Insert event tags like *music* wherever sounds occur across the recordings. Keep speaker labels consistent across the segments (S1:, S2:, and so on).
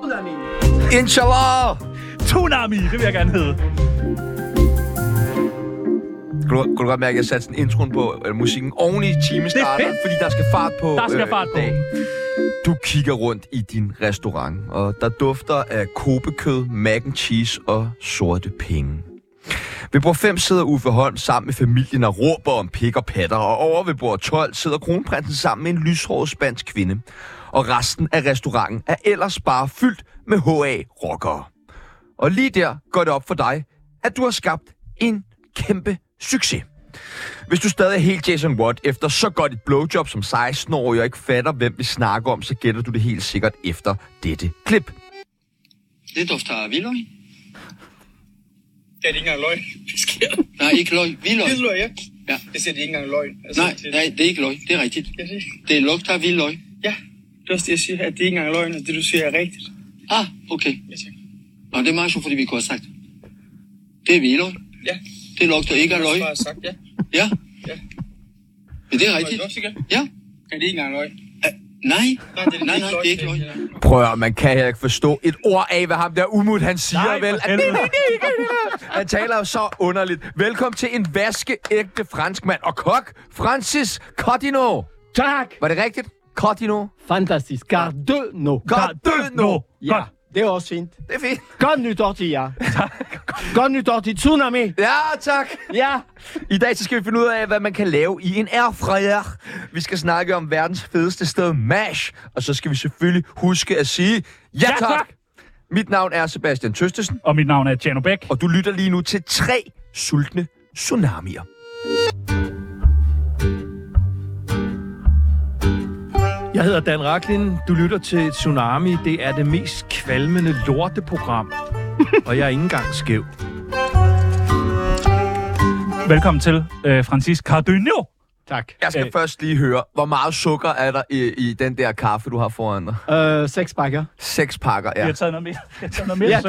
S1: Tsunami.
S2: Inshallah!
S3: Tsunami, det vil jeg gerne hedde.
S2: Kunne du, kunne du godt mærke, at jeg satte sådan introen på øh, musikken oven i timestarteren,
S3: fedt.
S2: fordi der skal fart på øh,
S3: Der skal fart på.
S2: dag. Du kigger rundt i din restaurant, og der dufter af kobekød, mac and cheese og sorte penge. Ved bord 5 sidder Uffe Holm sammen med familien og råber om pik og patter, og over ved bord 12 sidder kronprinsen sammen med en lyshåret spansk kvinde. Og resten af restauranten er ellers bare fyldt med HA-rockere. Og lige der går det op for dig, at du har skabt en kæmpe succes. Hvis du stadig er helt Jason Watt efter så godt et blowjob som 16-årig og ikke fatter, hvem vi snakker om, så gætter du det helt sikkert efter dette klip.
S1: Det dufter af hvidløg.
S4: Det er det ikke engang løgn. Det sker.
S1: Nej, ikke løg. Hvidløg.
S4: Hvidløg, ja.
S1: Ja.
S4: Det siger de ikke engang løgn. Altså,
S1: Nej,
S4: det,
S1: nej, det er ikke løg. Det er rigtigt.
S4: Ja, det,
S1: Det lugter af hvidløg.
S4: ja, det er også det, jeg siger, at det er ikke engang løgn, og det du siger er rigtigt.
S1: Ah, okay.
S4: Ja, tak.
S1: Nå, det er meget sjovt, fordi vi kunne have sagt. Det er hvidløg.
S4: Ja,
S1: Det lugter ikke af
S4: det
S1: løg.
S4: er bare sagt, ja.
S1: Ja.
S4: Ja.
S1: Men det er
S4: Var
S1: rigtigt.
S4: det også, ikke?
S1: Ja.
S4: Ja, det er ikke engang løgn.
S1: Ah, Nej.
S4: Nej, det er,
S1: Nej, nej, det er ikke løg.
S2: Prøv at høre, man kan heller ikke forstå et ord af, hvad ham der umut, han siger,
S3: Nej, for
S2: vel? At det,
S3: helvede.
S2: det, det, det, *laughs* han taler jo så underligt. Velkommen til en vaskeægte franskmand og kok, Francis Cardino.
S5: Tak!
S2: Var det rigtigt? Cardino?
S5: Fantastisk. Cardeno.
S2: Cardino!
S5: Ja,
S3: Godt.
S5: det er også fint.
S2: Det er fint.
S5: Godt nytår til jer. Godt nytår til Tsunami.
S2: Ja, tak.
S5: Ja.
S2: I dag så skal vi finde ud af, hvad man kan lave i en airfryer. Vi skal snakke om verdens fedeste sted, MASH. Og så skal vi selvfølgelig huske at sige, ja tak!
S3: tak.
S2: Mit navn er Sebastian Tøstesen,
S3: Og mit navn er Tjerno Bæk.
S2: og du lytter lige nu til tre sultne tsunamier.
S6: Jeg hedder Dan Raklin. Du lytter til Tsunami. Det er det mest kvalmende
S2: *laughs*
S6: lorteprogram. og jeg er ikke engang skæv.
S3: Velkommen til, øh, Francis Cardinio.
S5: Tak.
S2: Jeg skal
S3: Øh.
S2: først lige høre, hvor meget sukker er der i, i den der kaffe, du har foran dig?
S5: Øh, seks pakker.
S2: Seks pakker, ja. *laughs*
S3: Jeg har
S2: Nu
S3: taget noget mere. Jeg har taget noget mere.
S5: Ja,
S3: så-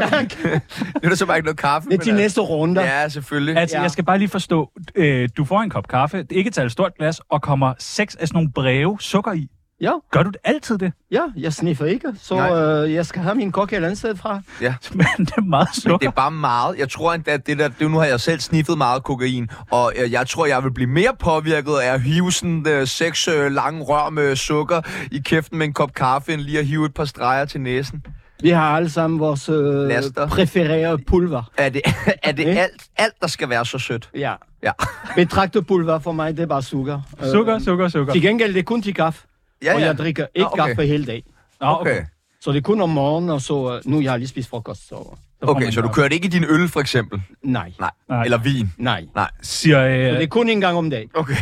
S5: tak.
S2: er der så bare ikke noget kaffe.
S5: Det er
S2: men
S5: de
S2: altså-
S5: næste runder.
S2: Ja, selvfølgelig.
S3: Altså,
S5: Ja.
S3: ja. jeg skal bare lige forstå. Øh, du får en kop kaffe, det er ikke taget et stort glas, og kommer seks af sådan nogle breve sukker i.
S5: Ja.
S3: Gør du det altid det? *laughs*
S5: Ja, jeg sniffer ikke, så
S2: Nej.
S5: øh, jeg skal have min kok et andet sted fra.
S2: Ja.
S3: Men det er meget
S2: Det
S3: sukker.
S2: er bare meget. Jeg tror endda, at det der, det, nu har jeg selv sniffet meget kokain, og øh, jeg tror, jeg vil blive mere påvirket af at hive sådan øh, seks øh, lange rør med sukker i kæften med en kop kaffe, end lige at hive et par streger til næsen.
S5: Vi har alle sammen vores
S2: Laster.
S5: øh, præfererede pulver.
S2: Er det, er det
S5: Okay.
S2: alt, alt, der skal være så sødt?
S5: Ja.
S2: Ja.
S5: Betragte pulver for mig, det er bare sukker. Øh,
S3: Sukker, sukker, sukker.
S5: Til gengæld, det er kun til kaffe,
S2: Ja,
S5: og
S2: ja.
S5: jeg drikker ikke
S2: Nå, okay.
S5: kaffe hele dag.
S3: Nå,
S2: Okay.
S5: Så det er kun om morgenen, og så... Øh, nu, jeg har lige spist frokost, så...
S3: Så får
S2: okay,
S3: man
S2: så du
S3: kaffe.
S2: kørte ikke i din øl, for eksempel?
S5: Nej,
S2: Oh. Nej.
S3: Nej.
S2: Eller vin?
S5: nej.
S2: Nej.
S3: Siger,
S5: Så det
S3: øh,
S5: er kun en gang om dagen.
S2: Okay.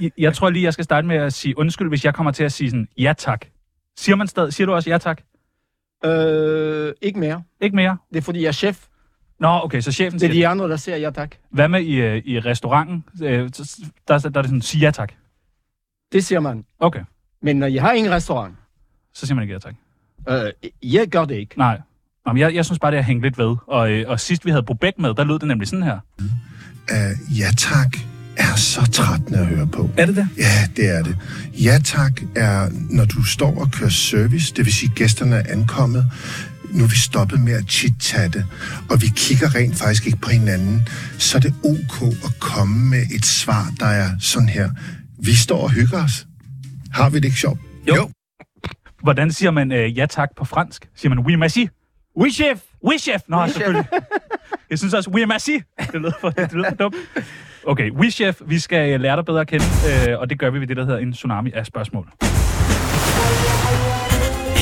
S3: jeg, jeg tror lige, jeg skal starte med at sige undskyld, hvis jeg kommer til at sige sådan, ja tak. Siger man stadig, siger du også ja tak?
S5: Øh, ikke mere.
S3: Ikke mere?
S5: Det er, fordi jeg er chef.
S3: Nå, okay, så chefen
S5: Det er
S3: siger,
S5: de andre, der siger ja tak.
S3: hvad med i, øh, i restauranten? Øh, så- der, der, der er det sådan, sig ja tak.
S5: Det siger man.
S3: Okay,
S5: Men når jeg har en restaurant,
S3: så siger man ikke ja tak.
S5: øh, jeg gør det ikke.
S3: Nej. Nå, men jeg, jeg synes bare, det er hængt lidt ved. Og, øh, og sidst vi havde Brobæk med, der lød det nemlig sådan her.
S7: Uh, ja tak er så trættende at høre på.
S3: Er det det?
S7: Ja, det er det. Ja tak er, når du står og kører service, det vil sige, gæsterne er ankommet. Nu er vi stoppet med at chit-chatte, og vi kigger rent faktisk ikke på hinanden. Så er det ok at komme med et svar, der er sådan her. Vi står og hygger os. Har vi det ikke sjovt?
S3: Hvordan siger man øh, ja tak på fransk? Siger man oui merci?
S5: Oui, chef!
S3: Oui chef! Nå, selvfølgelig. Jeg synes også, oui merci. Det lyder for, det lyder for dumt. Okay, oui chef, vi skal øh, lære dig bedre at kende, øh, og det gør vi ved det, der hedder en tsunami af spørgsmål.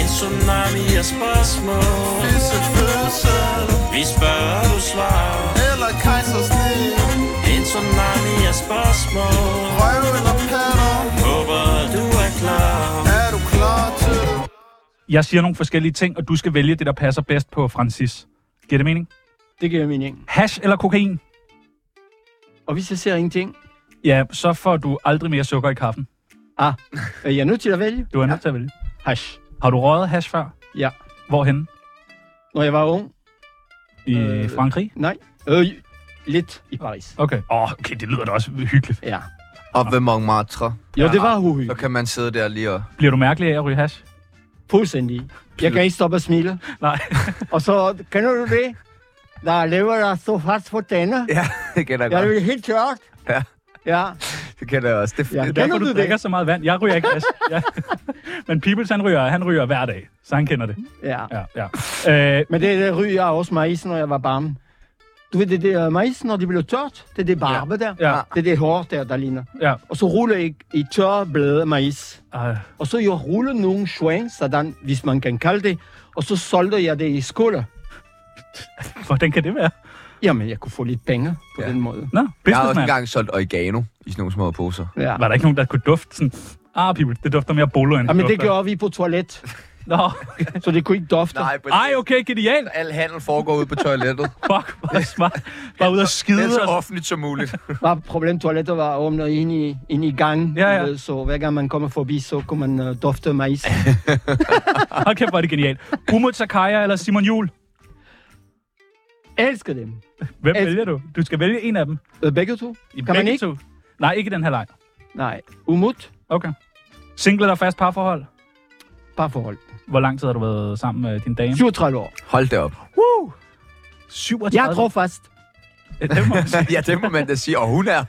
S8: En tsunami af spørgsmål Vi spørger, du svarer
S9: Eller kejsersnit
S8: En tsunami af spørgsmål
S9: Røv eller patter
S8: Håber, du er klar
S9: Er du klar til det?
S3: Jeg siger nogle forskellige ting, og du skal vælge det, der passer bedst på Francis. Giver det mening?
S5: Det giver mening.
S3: Hash eller kokain?
S5: Og hvis jeg ser ingenting,
S3: Ja, så får du aldrig mere sukker i kaffen.
S5: ah, er jeg nødt til at vælge?
S3: Du er nødt til at vælge.
S5: Hash.
S3: Har du røget hash før?
S5: Ja.
S3: Hvorhen?
S5: Når jeg var ung?
S3: I
S5: Øh,
S3: øh, Frankrig?
S5: Nej. Øh, lidt i Paris.
S3: Okay. Åh, oh, okay, det lyder da også hyggeligt.
S5: Ja.
S2: Og ved Montmartre,
S5: Jo, det var
S2: så
S5: uhyggeligt.
S2: kan man sidde der lige og...
S3: Bliver du mærkelig af at ryge hash?
S5: Fuldstændig. Jeg kan ikke stoppe at smile.
S3: Nej.
S5: Og så, kender du det? Der lever der så fast på denne.
S2: Ja, *laughs* det kender jeg
S5: Jeg er
S2: godt.
S5: jo helt tørt.
S2: Ja.
S5: Ja.
S2: Det kender jeg også. Det,
S5: Ja.
S2: det,
S3: Det er derfor,
S5: Kender du
S3: du
S5: det?
S3: drikker så meget vand. Jeg ryger ikke glas. Ja. Men Peoples, han ryger, han ryger hver dag, så han kender det.
S5: ja.
S3: Ja, ja. Øh,
S5: Men det, det ryger jeg også majs, når jeg var barn. Du ved, det der majs, når det bliver tørt, det er det barbe der.
S3: Ja.
S5: Det er det hår der, der ligner.
S3: ja.
S5: Og så ruller jeg i tørre blade af majs.
S3: Øh,
S5: Og så jeg ruller nogle schwang, sådan, hvis man kan kalde det. Og så solgte jeg det i skole.
S3: hvordan kan det være?
S5: Jamen, jeg kunne få lidt penge på ja. den måde.
S2: jeg
S3: Nå,
S2: har også
S3: businessman.
S2: engang solgt oregano i sådan nogle små poser.
S5: Ja.
S3: Var der ikke nogen, der kunne dufte sådan... Ah, People, det dufter mere bolo end
S5: Jamen, det
S3: dufter."
S5: gjorde vi på toilet,
S3: Nå.
S5: så det kunne ikke dufte.
S2: Nej, præcis.
S3: Ej, okay, genialt.
S2: Al handel foregår ude på
S3: *laughs*
S2: toilettet.
S3: Fuck, bare smart. Bare ud og
S2: Det er
S3: skide.
S2: så
S3: og-
S2: offentligt som muligt.
S5: Bare problemet, toilettet var åbnet inde i, inde i gangen.
S3: Ja, ja.
S5: du ved, Så hver gang man kommer forbi, så kunne man uh,
S3: *laughs*
S5: dufte majs.
S3: Hold kæft, hvor er det genialt. Umut Sakaya eller Simon Jul?
S5: Elsker dem.
S3: Hvem
S5: Elsker.
S3: vælger du? Du skal vælge en af dem.
S5: Øh, Begge to?
S3: I
S5: kan man
S3: begge
S5: ikke?
S3: To. Nej, ikke i den her leg.
S5: Nej. Umut?
S3: Okay. Single eller fast parforhold?
S5: Parforhold.
S3: Hvor lang tid har du været sammen med din dame?
S5: 37 år.
S2: Hold da op.
S5: Woo!
S3: 37.
S5: Jeg tror fast.
S3: Det må man sige.
S2: Ja, det må man da sige. Og hun er.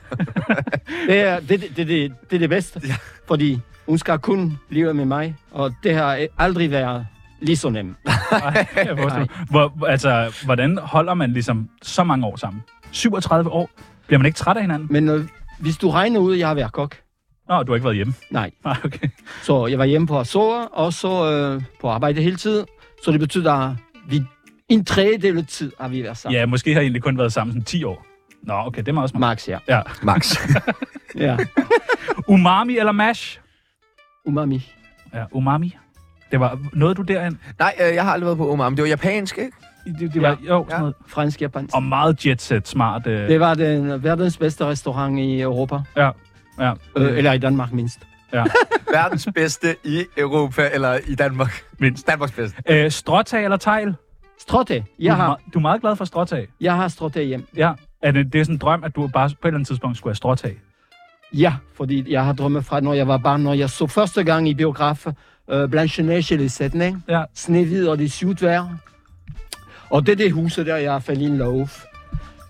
S5: Det er det, det, det, det, det, er det bedste. Ja. Fordi hun skal kun leve med mig, og det har aldrig været lige så nemt.
S3: Ej, jeg forstår. Hvor, altså, hvordan holder man ligesom så mange år sammen? 37 år. Bliver man ikke træt af hinanden?
S5: Men øh, hvis du regner ud, at jeg har været kok,
S3: Nå, du har ikke været hjemme. *laughs*
S5: nej.
S3: Nej, okay.
S5: Så jeg var hjemme på Azor, og så øh, på arbejde hele tiden. Så det betyder, at vi en tredjedel af tid har vi været sammen.
S3: Ja, måske har I egentlig kun været sammen sådan 10 år. Nå, okay, det er meget smart.
S5: Max, ja.
S3: Ja.
S2: Max.
S5: ja.
S3: Umami eller mash?
S5: Umami.
S3: Ja, umami. Det var noget, du derhen.
S2: *laughs* Nej, øh, jeg har aldrig været på umami. Det var japansk, ikke?
S3: *laughs* Det, det var, ja, jo, sådan
S2: Ja.
S3: noget.
S5: Fransk, japansk.
S3: Og meget jet set smart. Øh,
S5: Det var den verdens bedste restaurant i Europa.
S3: Ja, ja.
S5: Øh, eller i Danmark mindst.
S2: Verdens bedste i Europa, eller i Danmark.
S3: Mindst.
S2: Danmarks bedste.
S3: Øh, stråtag eller tegl?
S5: Stråtag.
S3: Du,
S5: Jeg
S3: er
S5: har,
S3: me- du er meget glad for stråtag.
S5: jeg har stråtag hjem.
S3: Ja. Er det, det er sådan en drøm, at du bare på et eller andet tidspunkt skulle have stråtag.
S5: Ja, fordi jeg har drømme fra, når jeg var barn, når jeg så første gang i biograf øh, Blanche-Neige i Les Sept Nains,
S3: Ja.
S5: Snehvid og det syv dværge. Og det er det huset der, jeg faldt i en love.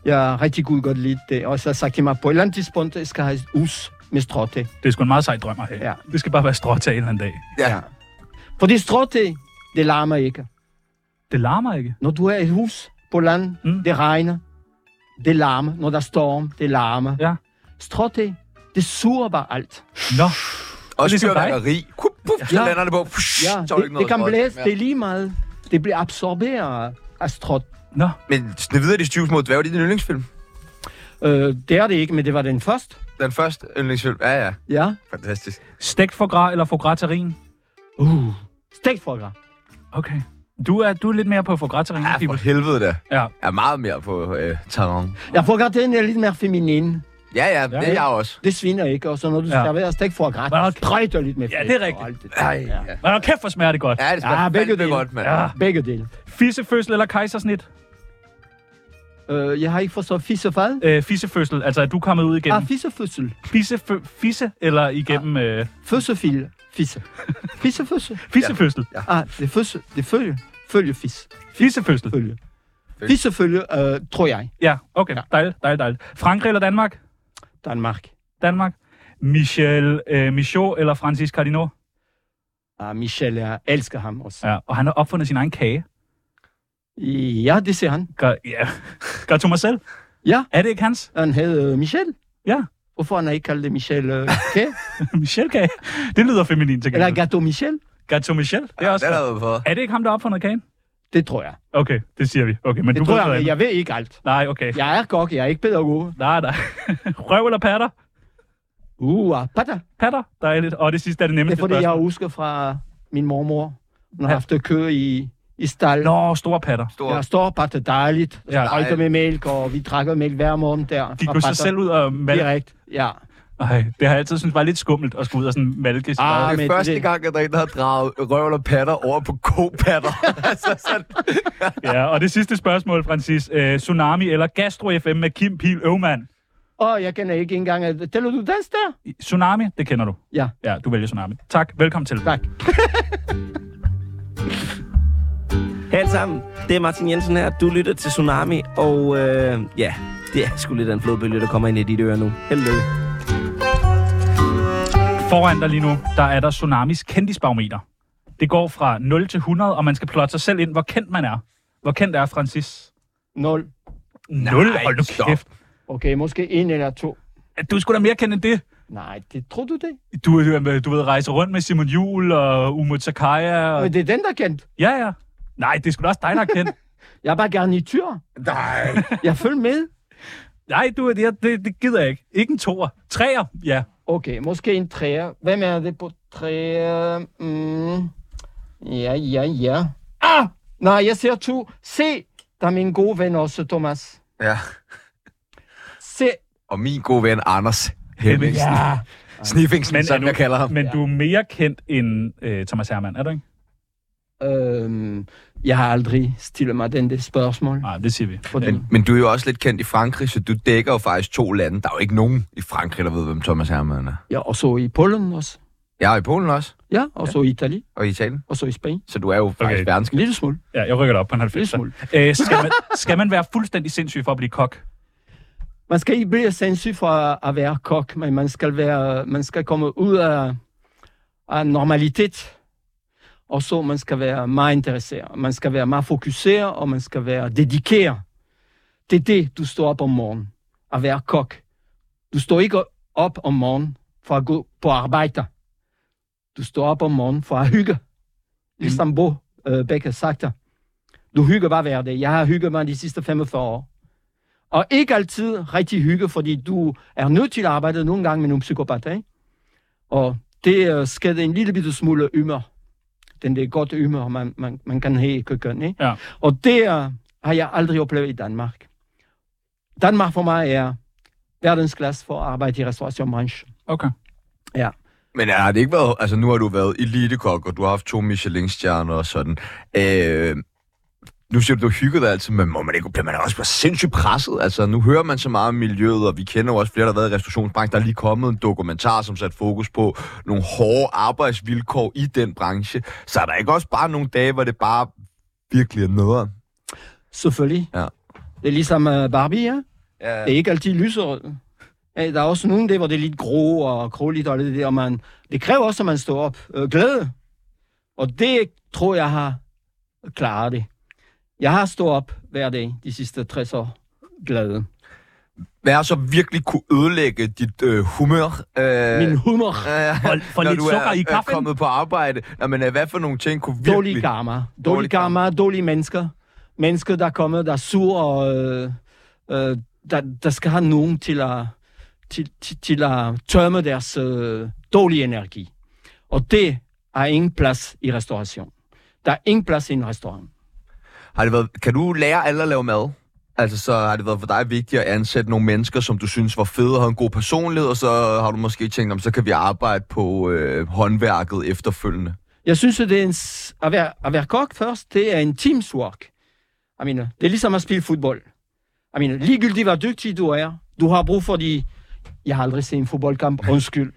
S5: Jeg er rigtig god godt lide det, og så har jeg sagt til mig, på et eller andet tidspunkt, jeg skal have et hus med stråtag.
S3: Det er sgu en meget sej drøm at have.
S5: Ja.
S3: Det skal bare være stråtag en eller anden dag.
S2: Ja.
S5: Fordi stråtag, det larmer ikke.
S3: Det larmer ikke.
S5: Når du er i et hus på land,
S3: Mm.
S5: mm. det regner, det larmer. Når der er storm, det larmer.
S3: Ja.
S5: Stråtag, det suger bare alt.
S3: Nå,
S2: Og
S3: ligesom dig.
S2: fyrværkeri. Kup, pup, så
S5: Ja.
S2: lander det på. Psh,
S5: Ja,
S2: så er der
S5: det,
S2: ikke
S5: det
S2: noget
S5: kan
S2: råd.
S5: blæse,
S2: Ja.
S5: det er lige meget. Det bliver absorberet af stråt.
S3: nå.
S2: Men Snevide og de 20 små dværge, det er din yndlingsfilm.
S5: Øh, det er det ikke, men det var den første.
S2: Den første yndlingsfilm. Ja, ja.
S5: Ja.
S2: Fantastisk.
S3: Stegt for gras eller for gratarin?
S5: Uh. Stegt fra gras.
S3: Okay. Du er, du er lidt mere på for gratarin.
S2: Ja, for helvede da.
S3: ja.
S2: Jeg er meget mere på øh, terrain.
S5: Ja, fra gras, den er lidt mere feminin.
S2: Ja, ja, det er jeg også.
S5: Det sviner ikke, og så når du Altså,
S3: Ja.
S5: ja. serverer stegt fra gras,
S3: Hvad er
S5: der
S3: det?
S5: sprøjter lidt med
S3: Ja,
S5: fedt
S3: det er
S5: og
S3: rigtigt.
S5: alt det der.
S2: Ej,
S5: ja.
S2: ja.
S3: Men hold kæft, hvor smager det godt.
S2: Ja,
S3: Ja.
S2: det smager
S5: Ja, begge
S2: fandme
S5: dele.
S2: godt, mand.
S3: Ja.
S5: Begge dele.
S3: Fissefødsel eller kejsersnit?
S5: Øh, jeg har ikke forstået fissefad.
S3: Øh, fissefødsel, altså er du kommet ud igennem
S5: Ah, fissefødsel.
S3: fissefø- fisse, eller igennem øh,
S5: Fødsefil.
S3: *laughs*
S5: Fisse. Fissefødsel.
S3: fissefødsel?
S5: Ah, det er fødsel. Det er følge. Følgefis.
S3: Fissefødsel.
S5: Følge. Fissefølge, øh, tror jeg.
S3: Ja, okay.
S5: Ja.
S3: Dejligt, dejligt, dejligt. Frankrig eller Danmark?
S5: Danmark.
S3: Danmark. Michel øh, Michaud eller Francis Cardinal?
S5: Ah, Michel, jeg elsker ham også.
S3: Ja, og han har opfundet sin egen kage.
S5: Ja, det ser han.
S3: Gør, ja. Gør Thomas selv?
S5: Ja.
S3: Er det ikke hans? *laughs*
S5: Han hed øh, Michel.
S3: Ja.
S5: Hvorfor han har ikke kaldt det Michel øh,
S3: *laughs*
S5: Kage?
S3: Michel kage. Det lyder feminin til
S5: Eller
S3: gengæld.
S5: Gato Michel?
S3: Gato Michel. Det er
S2: Ja,
S3: også
S2: det har jeg været på.
S3: Er det ikke ham, der har opfundet kagen?
S5: Det tror jeg.
S3: Okay, det siger vi. Okay, men
S5: Det
S3: du
S5: du tror
S3: ved
S5: jeg,
S3: noget
S5: men
S3: andet.
S5: jeg ved ikke alt.
S3: Nej, okay.
S5: Jeg er kok, jeg er ikke pædagog.
S3: Nej, nej. *laughs* Røv eller patter?
S5: Uh, ah, patter.
S3: Patter, dejligt. Og det sidste er det
S5: Det er
S3: nemmeste
S5: fordi, jeg
S3: spørgsmål.
S5: husker fra min mormor. Hun har
S3: Ja.
S5: haft kø i, i stald.
S3: Nå, store patter.
S2: Stor.
S5: Der står patter dejligt.
S3: Ja.
S5: Ja, Røgter med mælk, og vi drikker mælk hver morgen der.
S3: Gik
S5: fra
S3: du så
S5: patter.
S3: selv ud Ah, og malke?
S5: Direkt, ja.
S3: Ej, det har jeg altid syntes var lidt skummelt at skulle ud og sådan malke. sit
S5: Ah,
S3: eget-
S2: Det
S5: men
S2: er første
S5: det-
S2: gang, at der er en, der har draget røvl og patter over på kopatter. altså sådan.
S3: Ja, og det sidste spørgsmål, Francis. Øh, tsunami eller Gastro FM med Kim Pil Øvmann?
S5: Og jeg kender ikke engang... at- Tæller du dans der?
S3: Tsunami, det kender du.
S5: Ja.
S10: *laughs*
S3: Ja, du vælger Tsunami. Tak, velkommen til.
S5: Tak.
S10: Hej alle sammen, det er Martin Jensen her. Du lytter til Tsunami, og øh, ja, det er sgu lidt af en flodbølge, der kommer ind i dit øre nu. Held og lykke.
S3: Foran dig lige nu, der er der Tsunamis kendisbarometer. Det går fra 0 til 100, og man skal plotte sig selv ind, hvor kendt man er. Hvor kendt er Francis?
S5: 0.
S3: 0? Hold nu kæft.
S5: Okay, måske en eller to.
S3: Du er sgu da mere kendt end det.
S5: Nej, det tror du det?
S3: Du, øh, du ved, rejse rundt med Simon Juhl og Umut Sakaya. Og...
S5: Og det er den, der er kendt.
S3: Ja, ja. Nej, det er sgu da også dig, der er kendt.
S5: Jeg er bare garnityr.
S2: Nej.
S5: *laughs* Jeg følger med.
S3: Nej, du, det, det, det gider jeg ikke. Ikke en toer. Treer, ja.
S5: Okay, måske en træer. Hvem er det på træer? Mm. Ja, ja, ja. Ah! Nej, jeg ser to. Se, der er min gode ven også,
S2: *laughs*
S5: Thomas.
S2: Ja.
S5: Se.
S2: Og min gode ven Anders Hemmingsen. Ja.
S5: Ja.
S2: Sniffingsen, som
S3: er du,
S2: jeg kalder ham.
S3: Men du er mere kendt end øh, Thomas Hermann, er du ikke?
S5: Øhm, jeg har aldrig stillet mig den der spørgsmål.
S3: Nej, det siger vi.
S5: Fordi,
S2: Men, men du er jo også lidt kendt i Frankrig, så du dækker jo faktisk to lande. Der er jo ikke nogen i Frankrig, der ved, hvem Thomas Hermann er.
S5: ja, og så i Polen også.
S2: Jeg er i Polen også,
S5: Ja, og så i Italien,
S2: og i Italien.
S5: og så i Spanien.
S2: Så du er jo faktisk
S3: Okay.
S2: okay. verdensk.
S5: En lille smule.
S3: Ja, jeg rykker dig op på en
S5: En lille
S3: 90.
S5: smule.
S3: Øh, skal, man, skal man være fuldstændig sindssyg for at blive kok?
S5: Man skal ikke blive sindssyg for at- at være kok, men man skal, være, man skal komme ud af, af normalitet. Og så man skal være meget interesseret. Man skal være meget fokuseret, og man skal være dedikeret. Det er det, du står op om morgenen. At være kok. Du står ikke op om morgenen for at gå på arbejde. Du står op om morgenen for at hygge. Ligesom Bo øh, Becker sagde. Du hygger bare hver dag. Jeg har hygget mig de sidste 45 år. Og ikke altid rigtig hygge, fordi du er nødt til at arbejde nogle gange med nogle psykopater. Ikke? Og det øh, skal en lille bitte smule humør. Den der godt humør, man, man, man kan have i køkken. Ikke?
S3: Ja.
S5: Og det øh, har jeg aldrig oplevet i Danmark. Danmark for mig er verdensklasse for at arbejde i restaurationsbranchen.
S3: Okay.
S2: Men har det ikke været... Altså, nu har du været elitekok, og du har haft to Michelin-stjerner og sådan. Øh, nu siger du, du hygger dig altid, men må man ikke... Bliver man også bare sindssygt presset? Altså, nu hører man så meget om miljøet, og vi kender jo også flere, der har været i restaurationsbranchen. Der er lige kommet en dokumentar, som satte fokus på nogle hårde arbejdsvilkår i den branche. Så er der ikke også bare nogle dage, hvor det bare virkelig er noget?
S5: Selvfølgelig.
S2: Ja.
S5: Det er ligesom øh, Barbie, ja?
S2: Ja.
S5: Det er ikke altid lyserød. Ja, Der er også nogle dage, hvor det er lidt grå og krulligt og lidt det, og man, det kræver også, at man står op. Øh, glæde. Og det tror jeg har klaret det. Jeg har stået op hver dag de sidste 60 år. Glæde.
S2: Hvad har så virkelig kunne ødelægge dit øh, humør? Øh,
S5: Min humor.
S2: øh,
S3: For- for
S2: når
S3: lidt
S2: du er,
S3: sukker i
S2: øh,
S3: kaffen?
S2: kommet på arbejde. Nå, men øh, hvad for nogle ting kunne virkelig...
S5: Dårlig karma. Dårlig
S2: Dårlig karma.
S5: karma, dårlige mennesker. Mennesker, der er kommet, der er sur, og øh, øh, der, der skal have nogen til at, til, til, til at tømme deres øh, dårlige energi. Og det har ingen plads i restauration. Der er ingen plads i en restaurant.
S2: Har det været, kan du lære alle at lave mad? Altså, så har det været for dig vigtigt at ansætte nogle mennesker, som du synes var fede og havde en god personlighed, og så har du måske tænkt, om så kan vi arbejde på øh, håndværket efterfølgende. *laughs*
S5: Jeg synes, at, det er en, s- at, være, at være kok først, det er en teamswork. Jeg mener, det er ligesom at spille fodbold. Jeg mener, ligegyldigt hvor dygtig du er, du har brug for de... Jeg har aldrig set en
S2: *laughs*
S5: fodboldkamp, undskyld.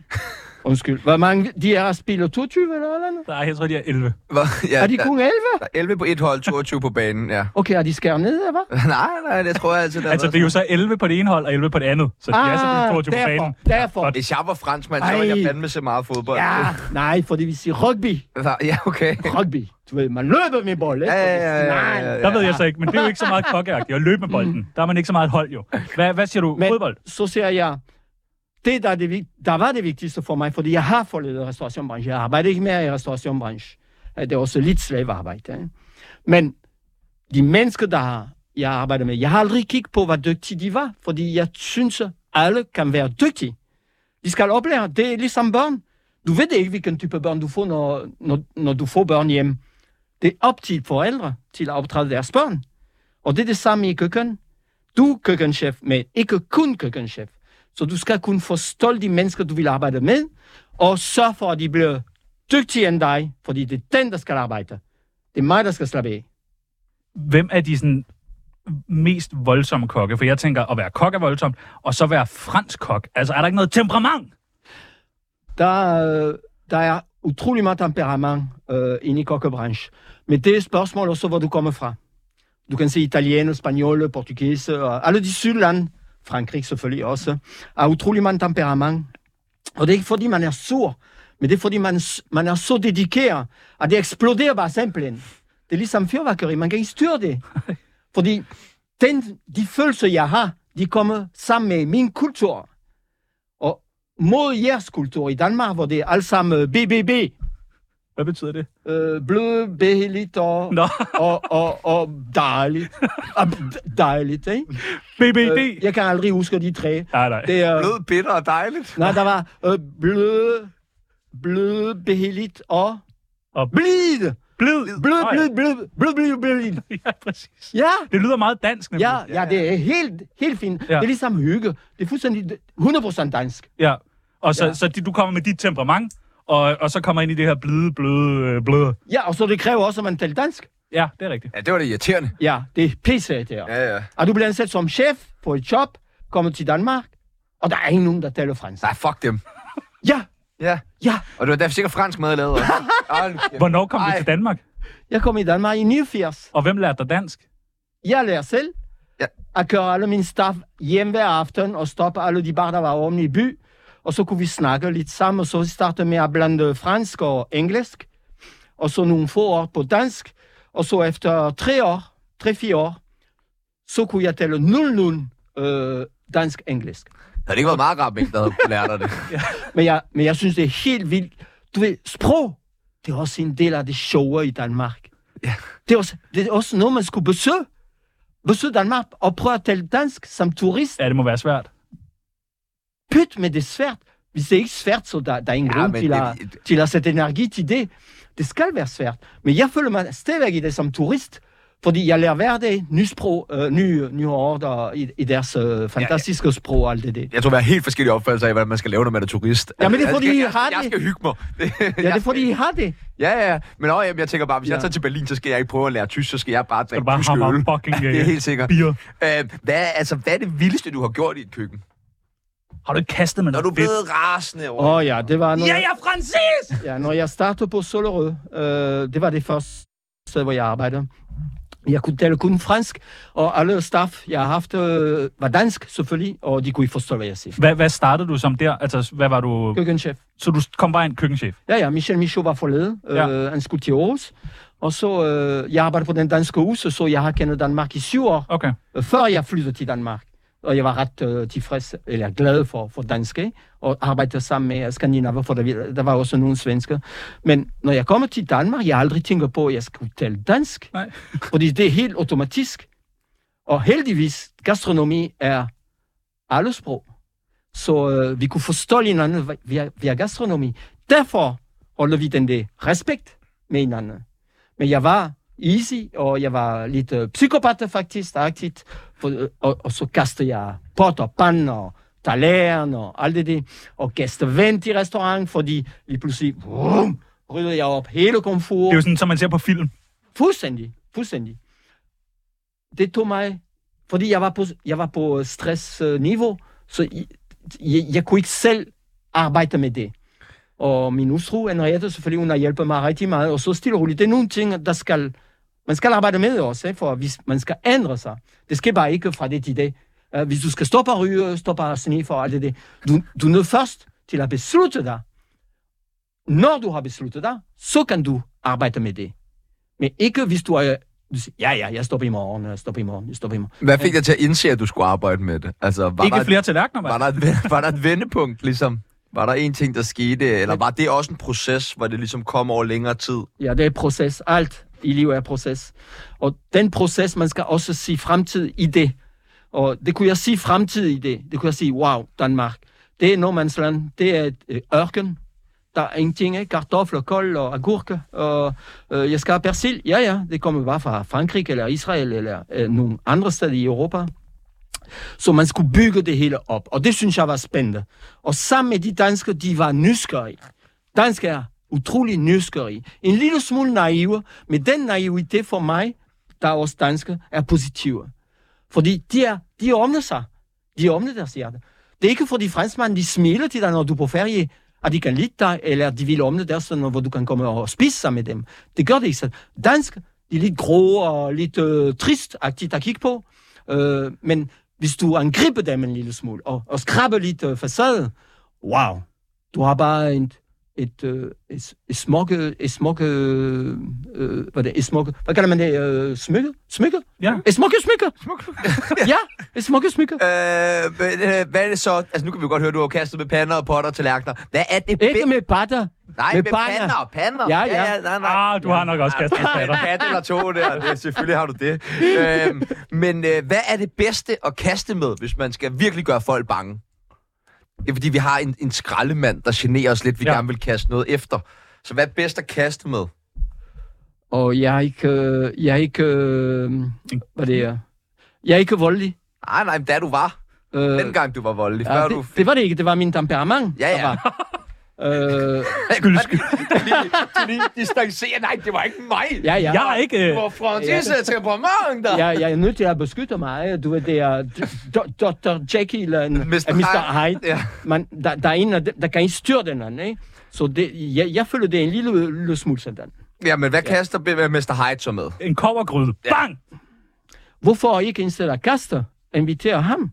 S5: Undskyld. Hvor mange de er at spille 22 eller eller andet?
S3: Nej, jeg tror, de er 11.
S2: Hvad? Ja,
S5: Er de
S2: der-
S5: kun 11?
S2: der er 11 på et hold, 22 på banen, ja. *laughs*
S5: Okay, er de skæret ned, eller hvad?
S2: nej, nej, det tror jeg altså. Der
S3: Altså, det er jo så 11 på det ene hold og 11 på det andet. Så de er selvfølgelig 22 på
S5: Ah, derfor,
S3: banen.
S5: derfor.
S3: Godt.
S2: Hvis jeg var franskmand, så
S5: Ej.
S2: ville jeg fandme se meget fodbold. *laughs*
S5: Ja, nej, for det vil sige rugby.
S2: ja okay.
S5: Rugby. Du ved, man løber med bold, ikke?
S2: Ja, ja, ja, ja,
S5: Nej.
S2: ja, ja.
S3: Der ved jeg så ikke, men det er jo ikke så meget kokkeagtigt at løbe med bolden. Der er man ikke så meget et hold, jo. Hvad, hvad siger du?
S5: Men
S3: Fodbold?
S5: så siger jeg, det der, er det, vig- der var det vigtigste for mig, fordi jeg har forladt restaurationsbranchen. Jeg arbejder ikke mere i restaurationsbranchen. Øh, Det er også lidt slavearbejde. Ikke? hein. Men de mennesker, der har, jeg arbejder med, jeg har aldrig kigget på, hvor dygtige de var, fordi jeg synes, at alle kan være dygtige. De skal oplære, det er ligesom børn. Du ved ikke, hvilken type børn du får, når, når, når du får børn hjem. Det er op til forældre til at optræde deres børn. Og det er det samme i køkken. Du er køkkenchef, men ikke kun køkkenchef. Så du skal kunne forstå de mennesker, du vil arbejde med, og sørge for, at de bliver dygtigere end dig, fordi det er den, der skal arbejde. Det er mig, der skal slappe af.
S3: Hvem er de sådan mest voldsomme kokke? For jeg tænker, at være kok er voldsomt, og så være fransk kok. Altså, er der ikke noget temperament?
S5: Der, er- der er utrolig meget temperament øh, inde i kokkebranchen. Men det er et spørgsmål også, hvor du kommer fra. Du kan se italiener, spanjol, portugis, og alle de sydland, Frankrig selvfølgelig også, har utrolig meget temperament. Og det er ikke fordi, man er sur, men det er fordi, man, s- man er så dedikeret, at det eksploderer bare simpelthen. Det er ligesom fyrværkeri, man kan ikke styre det. Fordi den, de følelser, jeg har, de kommer sammen med min kultur. Og mod jeres kultur i Danmark, hvor det er alt sammen øh, BBB,
S3: Hvad betyder det?
S5: øh, blød, behligt
S3: *laughs*
S5: og,
S3: Nå.
S5: og, og, og dejligt. Og dejligt, ikke?
S3: BBD?
S5: Øh, jeg kan aldrig huske de tre.
S3: Nej, nej.
S5: Det er,
S2: Blød, bitter og dejligt.
S5: nej, der var øh, blød, blød, behligt og...
S3: Og-
S5: blid!
S3: Blid.
S5: Blød,
S3: Nå, ja.
S5: blød, blød, blød, blød, blød.
S3: Ja, præcis.
S5: Ja,
S3: Det lyder meget dansk, nemlig.
S5: ja, ja, det er helt, helt fint.
S3: Ja.
S5: Det er ligesom hygge. Det er fuldstændig 100% dansk.
S3: ja. Og så,
S5: Ja.
S3: ja. så de, du kommer med dit temperament, og, og så kommer ind i det her bløde, bløde, øh, bløde.
S5: Ja, og så det kræver også, at man taler dansk.
S3: Ja, det er rigtigt.
S2: Ja, det var det irriterende.
S5: Ja, det er pisse det her.
S2: Ja, ja.
S5: Og du bliver ansat som chef på et job, kommer til Danmark, og der er ingen nogen, der taler fransk.
S2: Nej, fuck dem.
S5: Ja,
S2: Ja.
S5: ja.
S2: Og det var derfor sikkert fransk mad, jeg lavede. også. Hold kæft.
S3: Hvornår kom du
S2: Ej.
S3: til Danmark?
S5: Jeg kom i Danmark i 89.
S3: Og hvem lærte dig dansk?
S5: Jeg lærer selv
S2: Ja.
S5: at køre alle min staff hjem hver aften og stoppe alle de bar, der var åbne i by. Og så kunne vi snakke lidt sammen, og så starte med at blande fransk og engelsk. Og så nogle få år på dansk. Og så efter tre år, tre-fire år, så kunne jeg tale nogenlunde øh, dansk-engelsk.
S2: Havde det ikke været meget rart, hvis der havde lært dig det?
S5: Men jeg, men jeg synes, det er helt vildt. Du ved, sprog, det er også en del af det sjove i Danmark.
S2: Ja.
S5: Det, er også, det er også noget, man skulle besøge. Besøge Danmark og prøve at tale dansk som turist.
S3: Ja, det må være svært.
S5: Pyt, men det er svært. Hvis det er ikke svært, så der, der er ingen
S2: Ja,
S5: ja, grund
S2: men
S5: til,
S2: det-
S5: at, til at sætte energi til det. Det skal være svært. Men jeg føler mig stadigvæk i det som turist, fordi jeg lærer hver dag nye sprog, øh, nye, nye ord og i, i deres øh, fantastiske sprog og
S2: *laughs*
S5: alt det der.
S2: Jeg tror, vi har helt forskellige opfattelser af, hvordan man skal lave, når man er turist.
S5: Ja, men det er
S2: Jeg
S5: fordi,
S2: skal-
S5: I
S2: jeg,
S5: har
S2: skal- jeg
S5: det.
S2: skal hygge mig. *laughs*
S5: Ja, det er fordi, I har det.
S2: Ja, ja, men også, jamen, jeg tænker bare, hvis ja. jeg
S5: Ja.
S2: tager til Berlin, så skal jeg ikke prøve at lære tysk, så skal jeg bare
S3: Så du
S2: drikke
S3: bare
S2: tysk
S3: hammer
S2: øl.
S3: fucking
S2: *laughs* det er
S3: øh,
S2: helt sikkert.
S3: bier.
S2: Øh, hvad, altså, hvad er det vildeste, du har gjort i et køkken?
S3: Har du ikke kastet med
S2: Når du er
S3: noget fedt?
S2: blevet rasende over...
S5: Åh oh, ja, det var noget...
S3: Ja, ja, Francis!
S5: Ja, når jeg startede på Solerød, øh, det var det første sted, hvor jeg arbejdede. Jeg kunne tale kun fransk, og alle staff, jeg har haft, øh, var dansk selvfølgelig, og de kunne ikke forstå, hvad jeg siger.
S3: Hvad, hvad startede du som der? Altså, hvad var du...
S5: Køkkenchef.
S3: Så du kom bare ind køkkenchef?
S5: Ja, ja, Michel Michaud var forleden. Øh,
S3: Ja.
S5: Han skulle til Aarhus. Og så, øh, jeg arbejdede på den danske hus, så jeg har kendt Danmark i syv år,
S3: Okay.
S5: øh, før jeg flyttede til Danmark. Og jeg var ret øh, tilfreds, eller glad for, for danske, og arbejdede sammen med øh, skandinaver, for der, vi- der var også nogle svensker. Men når jeg kommer til Danmark, jeg har aldrig tænker på, at jeg skulle tale dansk.
S3: Nej.
S5: Fordi det er helt automatisk. Og heldigvis, gastronomi er alle sprog. Så øh, vi kunne forstå hinanden via, via gastronomi. Derfor holder vi den der respekt med hinanden. Men jeg var easy, og jeg var lidt øh, psykopat faktisk, agtigt, for, øh, og, og så kastede jeg pot og pande og tallerken og alt det der, og gæste vent i restaurant, fordi lige pludselig vrum, ryddede jeg op hele komfort.
S3: Det er jo sådan, som man ser på film.
S5: Fuldstændig, fuldstændig. Det tog mig, fordi jeg var på, jeg var på stressniveau, så jeg, jeg, jeg kunne ikke selv arbejde med det. Og min hustru, Henriette, selvfølgelig, hun har hjulpet mig rigtig meget, og så stille og roligt. Det er nogle ting, der skal, man skal arbejde med også, ikke? for hvis man skal ændre sig. Det sker bare ikke fra det til det. Øh, Hvis du skal stoppe at ryge, stoppe at sniffe og alt det, det. Du, du er nødt først til at beslutte dig. Når du har besluttet dig, så kan du arbejde med det. Men ikke hvis du er... Du siger, ja, ja, jeg stopper i morgen, jeg stopper i morgen, jeg stopper i morgen.
S2: Hvad fik dig til at indse, at du skulle arbejde med det? Altså, var
S3: Ikke
S2: der,
S3: flere tallerkener,
S2: var,
S3: mand.
S2: der et, ven- var der et vendepunkt, ligesom? Var der en ting, der skete? Eller var det også en proces, hvor det ligesom kom over længere tid?
S5: Ja, det er proces. Alt i livet er proces. Og den proces, man skal også sige fremtid i det. Og det kunne jeg sige fremtid i det. Det kunne jeg sige, wow, Danmark. Det er Normandsland. Det er et øh, ørken. Der er ingenting, ikke? Kartofler, kål og agurke. Og øh, jeg skal have persil. Ja, ja, det kommer bare fra Frankrig eller Israel eller øh, nogle andre steder i Europa. Så man skulle bygge det hele op. Og det synes jeg var spændende. Og sammen med de danskere, de var nysgerrige. Danskere er utrolig nysgerrige. En lille smule naive, men den naivitet for mig, der er også danske, er positiv. Fordi de, er, de åbner sig. De åbner deres hjerte. Det er ikke fordi franskmænd, de smiler til dig, når du er på ferie. at de kan lide dig, eller de vil omne dig, sådan, hvor du kan komme og spise sammen med dem. Det gør de ikke selv. Dansk, de er lidt grå og lidt øh, trist-agtigt at kigge på, øh, men hvis du angriber dem en lille smule og, og skraber lidt øh, facade, wow, du har bare en, et, øh, et, et smukke, et smukke, øh, øh, hvad, det, et smukke, hvad kalder man det, øh, smykke? Smykke?
S3: Ja.
S5: Et smukke smykke! *laughs* ja, et smukke smykke.
S2: Øh, men, øh, hvad er det så? Altså, nu kan vi godt høre, du har kastet med pander og potter og tallerkener. Hvad er det
S5: Ikke
S2: bedste?
S5: med batter.
S2: Nej, med,
S5: med
S2: med
S5: banger.
S2: pander og pander.
S5: Ja, ja.
S2: nej, nej.
S3: Ah, du har nok også
S2: *laughs*
S3: kastet med
S2: en
S3: patter.
S2: pat eller to der. Det, selvfølgelig har du det. Øhm, men øh, hvad er det bedste at kaste med, hvis man skal virkelig gøre folk bange? Det er fordi, vi har en, en skraldemand, der generer os lidt. Vi
S3: Ja.
S2: ja. gerne vil kaste noget efter. Så hvad er bedst at kaste med?
S5: Og jeg er ikke, øh, jeg er ikke, øh, hvad det er, jeg er ikke voldelig.
S2: Nej, nej, men da du var.
S5: Øh,
S2: Dengang du var voldelig. Før
S5: ja,
S2: du...
S5: det, det var det ikke, det var min temperament.
S2: Ja,
S5: der
S2: ja.
S5: var. øh,
S2: Skyld, skyld. du lige, du lige distancerer. Nej, det var ikke mig.
S5: ja, ja.
S3: Jeg er
S2: *laughs*
S3: ikke... Øh,
S2: Det var Francis ja. temperament, der.
S5: jeg, jeg er nødt til at beskytte mig. Du ved, det er d- d- Dr. Jekyll og en-
S2: Mr.
S5: og Mr.
S2: Hyde.
S5: Hyde.
S2: Ja.
S5: Man, der, der er en, af dem, der kan ikke styre den anden, ikke? Så det, jeg, jeg føler, det er en lille, lille smule sådan.
S2: Ja, men hvad kaster ja. Mr. Hyde så med?
S3: en kovergryde. Bang!
S5: Hvorfor ikke i stedet at kaste, invitere ham?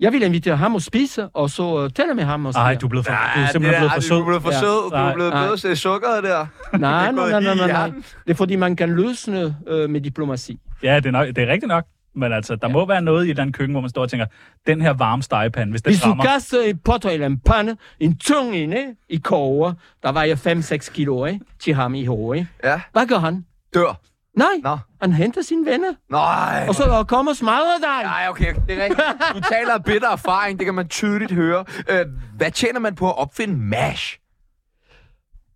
S5: Jeg vil invitere ham og spise, og så uh, tale med ham. Og sådan
S3: Nej,
S5: der.
S3: du er blevet for, du er
S2: det
S3: simpelthen blevet for
S2: Du er
S3: sød.
S2: blevet for
S5: Ja.
S2: sød. Du er
S3: Nej,
S2: blevet
S5: nej.
S2: bedre til sukkeret der.
S5: Nej,
S2: Det er
S5: nej,
S2: gået
S5: nej, nej,
S2: lige i
S5: nej, nej.
S2: hjernen.
S5: Det er fordi, man kan løsne øh, med diplomati.
S3: Ja, det er, nok, det er rigtigt nok. Men altså, der ja. må være noget i et eller andet køkken, hvor man står og tænker, den her varme stegepande, hvis den
S5: Hvis du
S3: rammer...
S5: kaster et potter eller en pande, en tung en, ikke? i koger, der vejer 5-6 kilo ikke? til ham i hovedet. ikke?
S2: Ja.
S5: Hvad gør han?
S2: Dør.
S5: Nej,
S2: Nå.
S5: han henter sine venner,
S2: Nej.
S5: og så og kommer og smadrer dig.
S2: Nej, okay, okay, det er rigtigt. Du taler af bitter erfaring, det kan man tydeligt høre. Øh, hvad tjener man på at opfinde MASH?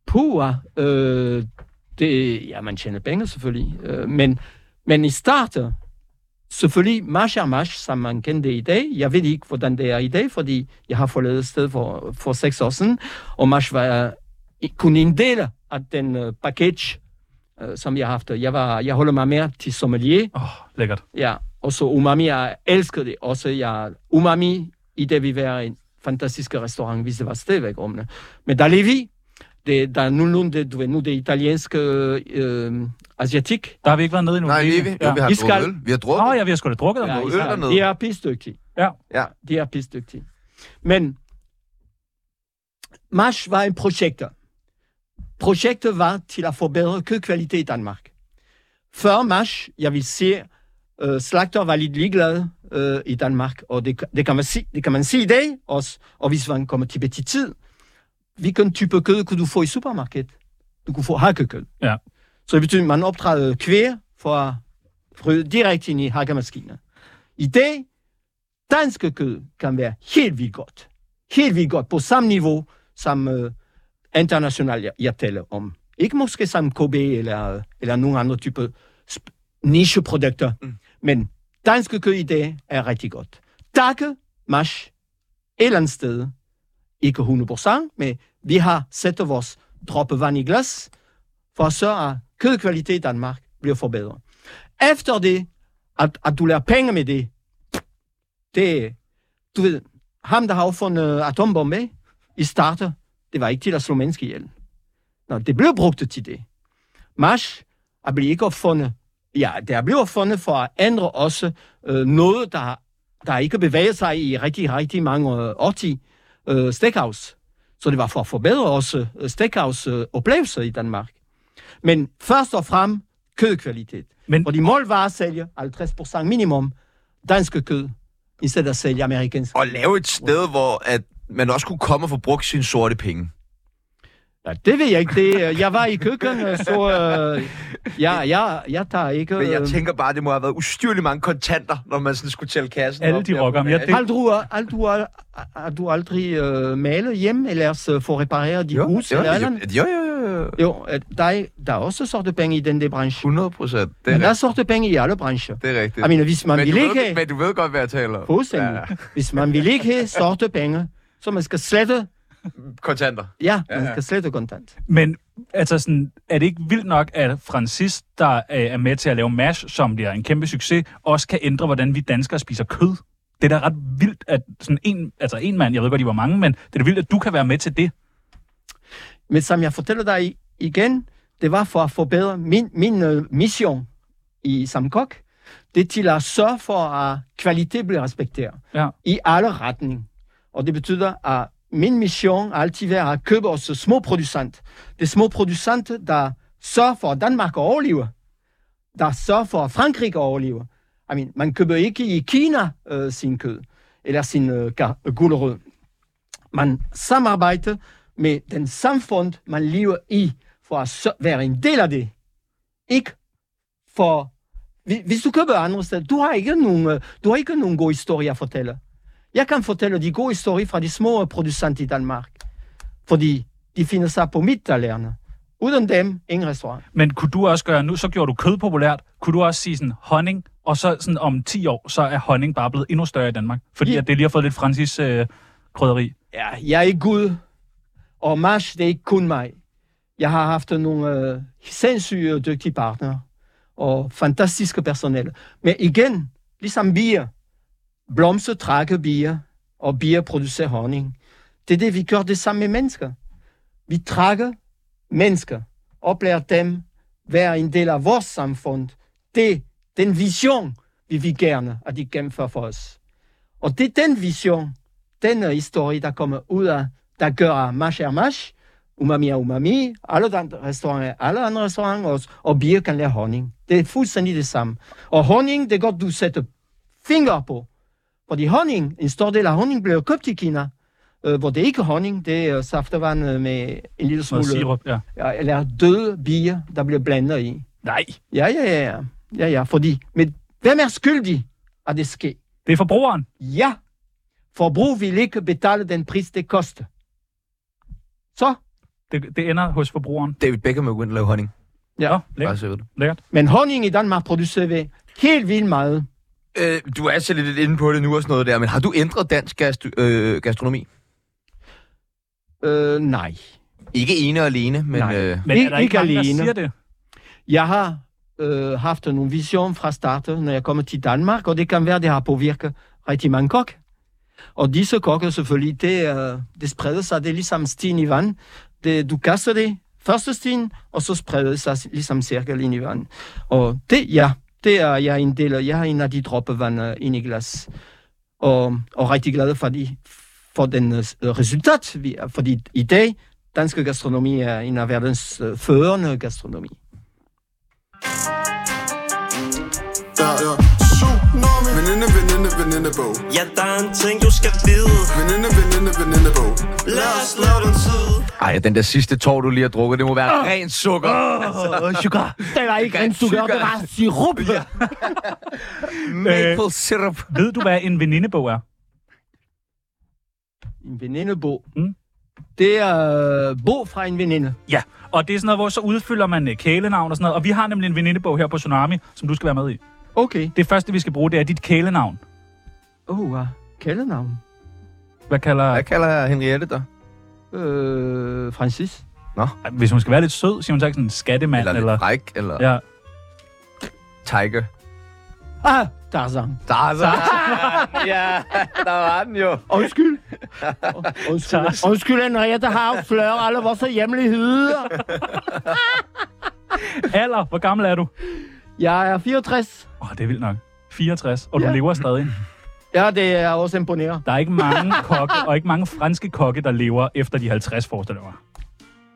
S5: Pua, øh, det, ja, man tjener penge selvfølgelig, øh, men, men i starten, selvfølgelig march er march, som man kendte i dag. Jeg ved ikke, hvordan det er i dag, fordi jeg har forladet sted for, for seks år siden, og march var øh, kun en del af den øh, package, øh, som jeg har haft. Jeg, var, jeg holder mig mere til sommelier,
S3: Åh, oh, lækkert.
S5: Ja, og så umami, er- jeg elsker det. Også jeg, umami, i det vil være en fantastisk restaurant, hvis det var stadigvæk omne. Men der Levi, det, der er nogenlunde, du ved nu, det italienske øh, asiatik.
S3: Der har vi ikke været nede endnu.
S2: Nej, Levi, jo, vi har
S5: I
S2: drukket
S5: skal-
S2: øl. Vi har drukket.
S3: Åh, ja, vi har sgu da drukket om
S5: Ja,
S3: noget.
S2: øl
S5: Israel.
S2: dernede.
S5: de er pisdygtige.
S3: Ja.
S2: Ja.
S5: De er pisdygtige. Men MASH var en projekt. Projektet var til at forbedre kødkvalitet i Danmark. Før MASH, jeg vil sige, øh, slagter var lidt ligeglade øh, i Danmark, og det, det, kan man sige, det kan man sige i dag også, og hvis man kommer til petit tid, hvilken type kød kunne du få i supermarkedet? Du kunne få hakkekød.
S3: Ja.
S5: Så det betyder, at man optræder kvæg fra ryge direkte ind i hakkemaskiner. I dag, dansk kød kan være helt vildt godt. Helt vildt godt på samme niveau som øh, internationalt, jeg, jeg taler om. Ikke måske som KB eller, øh, eller nogen andre type sp- nicheprodukter, mm. men dansk kød i dag er rigtig godt. Takke, mash, et eller andet sted. Ikke 100%, men vi har sat vores droppe vand i glas, for at sørge, at kødkvalitet i Danmark bliver forbedret. Efter det, at, at du lærer penge med det, det, du ved, ham, der har opfundet atombombe i starter, det var ikke til at slå mennesker ihjel. Nå, det blev brugt til det. Marsch er blevet ikke opfundet. Ja, det er blevet opfundet for at ændre også øh, noget, der, der ikke bevæger sig i rigtig, rigtig mange øh, årti. Øh, steakhouse. Så det var for at forbedre også øh, steakhouse-oplevelser i Danmark. Men først og fremmest kødkvalitet.
S3: Men-
S5: Men... Fordi målvarer sælger 50% minimum danske kød, i stedet at sælge amerikansk.
S2: Og lave et sted, hvor at man også kunne komme og få brugt sine sorte penge.
S5: Ja, det ved jeg ikke. Det, øh, jeg var i køkkenet, så øh, jeg, jeg, jeg tager ikke...
S2: Men jeg
S5: øh,
S2: tænker bare, at det må have været ustyrligt mange kontanter, når man sådan skulle tælle kassen.
S3: Alle
S2: op
S3: de
S2: der på
S3: rocker, men jeg-
S2: MASH.
S5: Har du, har du, har- har du aldrig øh, malet hjemme, ellers øh, få repareret dit
S2: Jo,
S5: hus?
S2: jo,
S5: eller
S2: jo,
S5: andet?
S2: jo, jo, jo, jo.
S5: Jo, øh, der er, der er også sorte penge i den der branche.
S2: 100 procent. Det,
S5: Men der
S2: er
S5: er
S2: rigtigt.
S5: sorte penge i alle brancher.
S2: det er rigtigt.
S5: Jeg mener, hvis man
S2: men,
S5: vil
S2: du ved,
S5: ikke...
S2: men du ved godt, hvad jeg taler
S5: eh,
S2: om.
S5: Fuldstændig. Hvis man vil ikke have eh, sorte penge, så man skal slette...
S2: Kontanter.
S5: Ja,
S2: Ja,
S5: man
S2: ja.
S5: skal slette kontant.
S3: Men altså sådan, er det ikke vildt nok, at Francis, der øh, er med til at lave MASH, som bliver en kæmpe succes, også kan ændre, hvordan vi danskere spiser kød? det er da ret vildt, at sådan en, altså en mand, jeg ved godt, de var mange, men det er da vildt, at du kan være med til det.
S5: Men som jeg fortæller dig igen, det var for at forbedre min, min øh, mission i Samkok. Det er til at sørge for, at kvalitet bliver respekteret
S3: Ja.
S5: i alle retninger. Og det betyder, at min mission har altid været at købe os små producenter. Det er små producenter, der sørger for, at Danmark overlever. Der sørger for, at Frankrig overlever. I mean, man køber ikke i Kina øh, sin kød, eller sin øh, gar- gulerod. Man samarbejder med den samfund, man lever i, for at sø- være en del af det. Ikke for... Hvi- Hvis du køber andre steder, du har ikke nogen, øh, du har ikke nogen gode historier at fortælle. Jeg kan fortælle de gode historier fra de små producenter i Danmark, fordi de finder sig på mit talerne. Uden dem, ingen restaurant.
S3: Men kunne du også gøre, nu så gjorde du kød populært, kunne du også sige sådan honning, og så sådan om 10 år, så er honning bare blevet endnu større i Danmark, fordi
S5: Ja.
S3: at det lige har fået lidt francis øh, krydderi.
S5: Ja, jeg er ikke Gud, og Mars, det er ikke kun mig. Jeg har haft nogle øh, sindssyge dygtige partnere og fantastiske personale. Men igen, ligesom bier, blomster trækker bier, og bier producerer honning. Det er det, vi gør det samme med mennesker. Vi trækker mennesker, oplærer dem, være en del af vores samfund. Det den vision, vi vil gerne, at de gennemfører for os. Og det er den vision, den øh, historie, der kommer ud af, der gør at mash er mash, umami er umami, alle de andre restauranter er alle andre restauranter, og, og bier kan lære honning. Det er fuldstændig det samme. Og honning, det er godt, du sætter fingre på. Fordi honning, en stor del af honning bliver købt i Kina, øh, hvor det ikke er honning, det er øh, saftevand øh, med en lille
S3: Noget
S5: smule,
S3: sirup, ja.
S5: ja, eller døde bier, der bliver blandet i.
S3: Nej,
S5: Ja, ja, ja, ja. Ja, ja, fordi... Men hvem er skyldig, at det sker?
S3: det er forbrugeren.
S5: Ja, forbrug vil ikke betale den pris, det koster. Så,
S3: Det, det ender hos forbrugeren.
S2: David Beckham er begyndt at lave honning.
S3: Nå,
S5: ja.
S2: Bare
S3: lækkert,
S2: så jeg ved det.
S3: lækkert.
S5: Men honning i Danmark producerer vi helt vildt meget.
S2: Øh, du er selv lidt inde på det nu og sådan noget der, men har du ændret dansk gastro- øh, gastronomi?
S5: Øh, nej.
S2: Ikke ene og alene, men...
S3: Nej.
S2: Øh,
S3: Men er
S5: Ikke-
S3: der ikke
S5: ikke
S3: mange, der
S5: alene.
S3: siger det?
S5: Jeg har øh, haft nogle vision fra starten, når jeg kommer til Danmark, og det kan være, det har påvirket rigtig mange kok. Og disse kokke selvfølgelig, det, øh, det spreder sig, det er ligesom sten i vand. Det, du kaster det, første sten, og så spreder det sig ligesom cirkel ind i vand. Og det, ja, det er jeg er en del af. Jeg er en af de droppevand øh, ind i glas. Og, og rigtig glad for, de, for den øh, resultat, vi er. Fordi i dag, dansk gastronomi er en af verdens øh, førende gastronomi.
S9: Der er tsunami Veninde, veninde, venindebog
S8: Ja, der er en ting, du skal vide
S9: Veninde, veninde, venindebog
S8: Lad os lave den tid
S2: ej, den der sidste tår, du lige har drukket, det må
S5: Ah!
S2: være oh. rent sukker.
S6: Åh, sugar.
S5: Det var ikke
S2: Rent
S5: rent sukker,
S2: sukker.
S5: det var sirup. Ja.
S2: Maple syrup.
S3: Ved du, hvad en venindebog er?
S5: En venindebog.
S3: Mm.
S5: Mm. Det er øh, bog fra en veninde.
S3: Ja, og det er sådan noget, hvor så udfylder man øh, kælenavn og sådan noget. Og vi har nemlig en venindebog her på Tsunami, som du skal være med i.
S5: Okay.
S3: Det første, vi skal bruge, det er dit kælenavn.
S5: Åh, oh, uh, kælenavn.
S3: Hvad kalder...
S2: Hvad kalder jeg Henriette der?
S5: Øh, Francis.
S3: Ej, Hvis hun skal være lidt sød, siger hun så ikke sådan en skattemand
S2: Eller,
S3: eller...
S2: eller... Ræk, eller ja.
S3: Ja,
S2: Tiger.
S5: Ah, Tarzan.
S2: Der er så... *laughs* ja, der var den jo.
S5: *laughs* Undskyld. Undskyld, Undskyld Henriette har flør alle vores hjemligheder.
S3: Alder, hvor gammel er du?
S5: Jeg er 64.
S3: Åh, oh, det er vildt nok. 64, og du
S5: Ja.
S3: lever stadig.
S5: Ja, det er også imponerende.
S3: Der er ikke
S5: *laughs*
S3: mange kokke, og ikke mange franske kokke, der lever efter de 50, forestiller jeg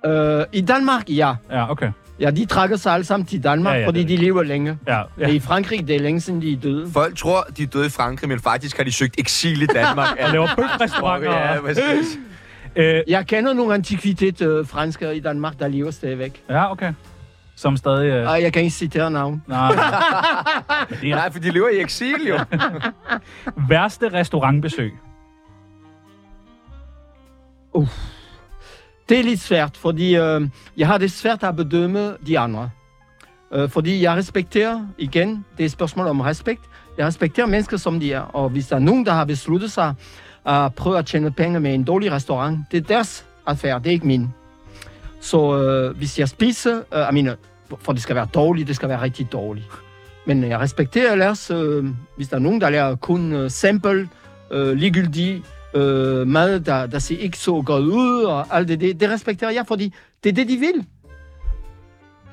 S3: mig.
S5: Øh, I Danmark, ja.
S3: Ja, okay.
S5: Ja, de trækker sig alle sammen til Danmark,
S3: Ja,
S5: ja,
S3: ja,
S5: ja, fordi
S3: det er
S5: de lever længe.
S3: Ja,
S5: Ja. Men
S3: ja.
S5: i Frankrig, det er længe siden, de er døde.
S2: Folk tror, de er døde i Frankrig, men faktisk har de søgt eksil i Danmark.
S3: Jeg laver
S2: Fuck,
S3: bøfrestauranter.
S2: ja,
S3: og-
S2: præcis.
S3: Øh,
S5: Jeg kender nogle antikvitet øh, franskere i Danmark, der lever stadigvæk.
S3: ja, okay. Som stadig... Øh,
S5: Ej, Ah, jeg kan ikke citere navn.
S3: nej. Men det er
S2: Nej, for de lever i eksil jo.
S3: værste restaurantbesøg.
S5: Det er lidt svært, fordi øh, jeg har det svært at bedømme de andre. Øh, fordi jeg respekterer, igen, det er et spørgsmål om respekt, jeg respekterer mennesker, som de er. Og hvis der er nogen, der har besluttet sig at prøve at tjene penge med en dårlig restaurant, det er deres affære, det er ikke min. Så øh, hvis jeg spiser, øh, jeg mener, for det skal være dårligt, det skal være rigtig dårligt. Men jeg respekterer ellers, øh, hvis der er nogen, der lærer kun øh, sample, øh, ligegyldig øh, mad, der, der ser ikke så godt ud, og alt det, det, det respekterer jeg, fordi det er det, de vil.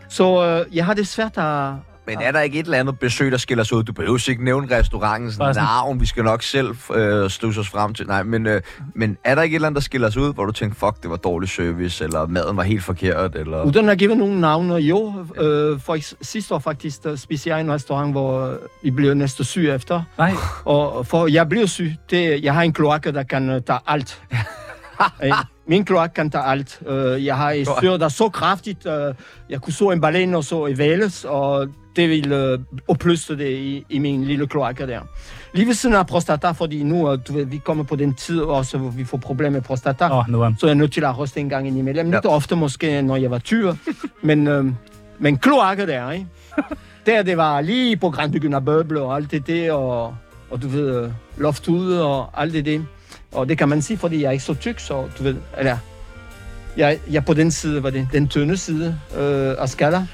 S5: Så øh, jeg har det svært at...
S2: *laughs* Men er der ikke et eller andet besøg, der skiller sig ud? Du behøver ikke nævne restaurantens
S3: Bare sådan-
S2: navn. Vi skal nok selv øh, støse os frem til. Nej, men, øh, men er der ikke et eller andet, der skiller sig ud, hvor du tænker, fuck, det var dårlig service, eller maden var helt forkert, eller...
S5: Uden at give nogen navne, jo. Øh, for eks- sidste år faktisk der spiste jeg i en restaurant, hvor øh, vi blev næste syg efter.
S3: Nej,
S5: Og for jeg bliver syg, det, jeg har en kloakke, der kan uh, tage alt. Øh, Min kloak kan tage alt. Øh, jeg har et styr, der er så kraftigt. øh, jeg kunne så en ballon og så et væles, og det ville øh, opløse det i, i min lille kloakke der. Lige ved siden af prostata, fordi nu, øh, du ved, vi kommer på den tid også, hvor vi får problemer med prostata. *laughs*
S3: åh, oh, nederen.
S5: Så jeg er nødt til at ryste en gang indimellem. Lidt ofte måske, når jeg var tyr. men, øh, men kloakke der, ikke? Der, det var lige på grænsen begyndte at bøble og alt det der, og, og du ved, øh, loft ud og alt det der. Og det kan man sige, fordi jeg er ikke så tyk, så du ved, eller jeg, jeg er på den side, var det den tynde side øh, af skaller.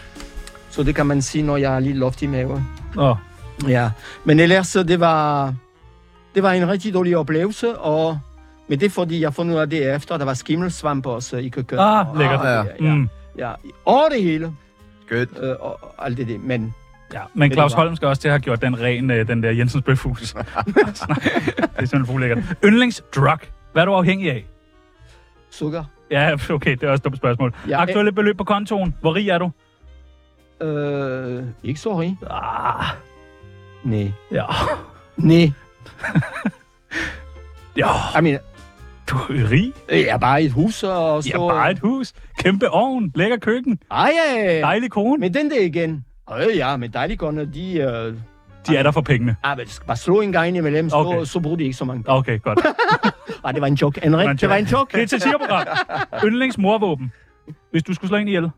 S5: Så det kan man sige, når jeg har lige loft i maven.
S3: Åh, oh,
S5: Ja, men ellers, så det var, det var en rigtig dårlig oplevelse, og men det er fordi, jeg har fundet ud af det efter, der var skimmelsvamp også i køkkenet.
S3: Ah,
S5: og-
S3: lækkert.
S5: Ja, ja,
S3: mm.
S5: ja, over det hele,
S2: Good.
S5: øh, og, og alt det der. Men
S3: Ja, men
S5: det
S3: Claus
S5: var-
S3: Holm skal også til at have gjort den ren, øh, den der Jensens
S5: *laughs*
S3: bøfhus. *laughs* det er simpelthen ulækkert. Yndlingsdrug. Hvad er du afhængig af?
S5: sukker,
S3: Ja, okay, det er også et dumt spørgsmål.
S5: Ja,
S3: Ja, Aktuelle beløb på kontoen. Hvor rig er du?
S5: øh, ikke så rig.
S3: Ah,
S5: Nej.
S3: ja.
S5: Nej.
S3: ja,
S5: Jeg mener,
S3: du er rig.
S5: øh, jeg er bare i et hus og så...
S3: Ja, bare et hus. Kæmpe ovn. Lækker køkken.
S5: Ej, ja, ja.
S3: Dejlig kone.
S5: Men den der igen. Øh, ja, men dejlige kunder, de... Øh,
S3: De er der for pengene.
S5: ah, men bare slå en gang imellem, så,
S3: Okay.
S5: okay. så bruger de ikke så mange penge.
S3: Okay, godt.
S5: Ej, det var en joke, Henrik. Det var en joke.
S3: Det er et satireprogram. Yndlingsmorvåben. Hvis du skulle slå en ihjel.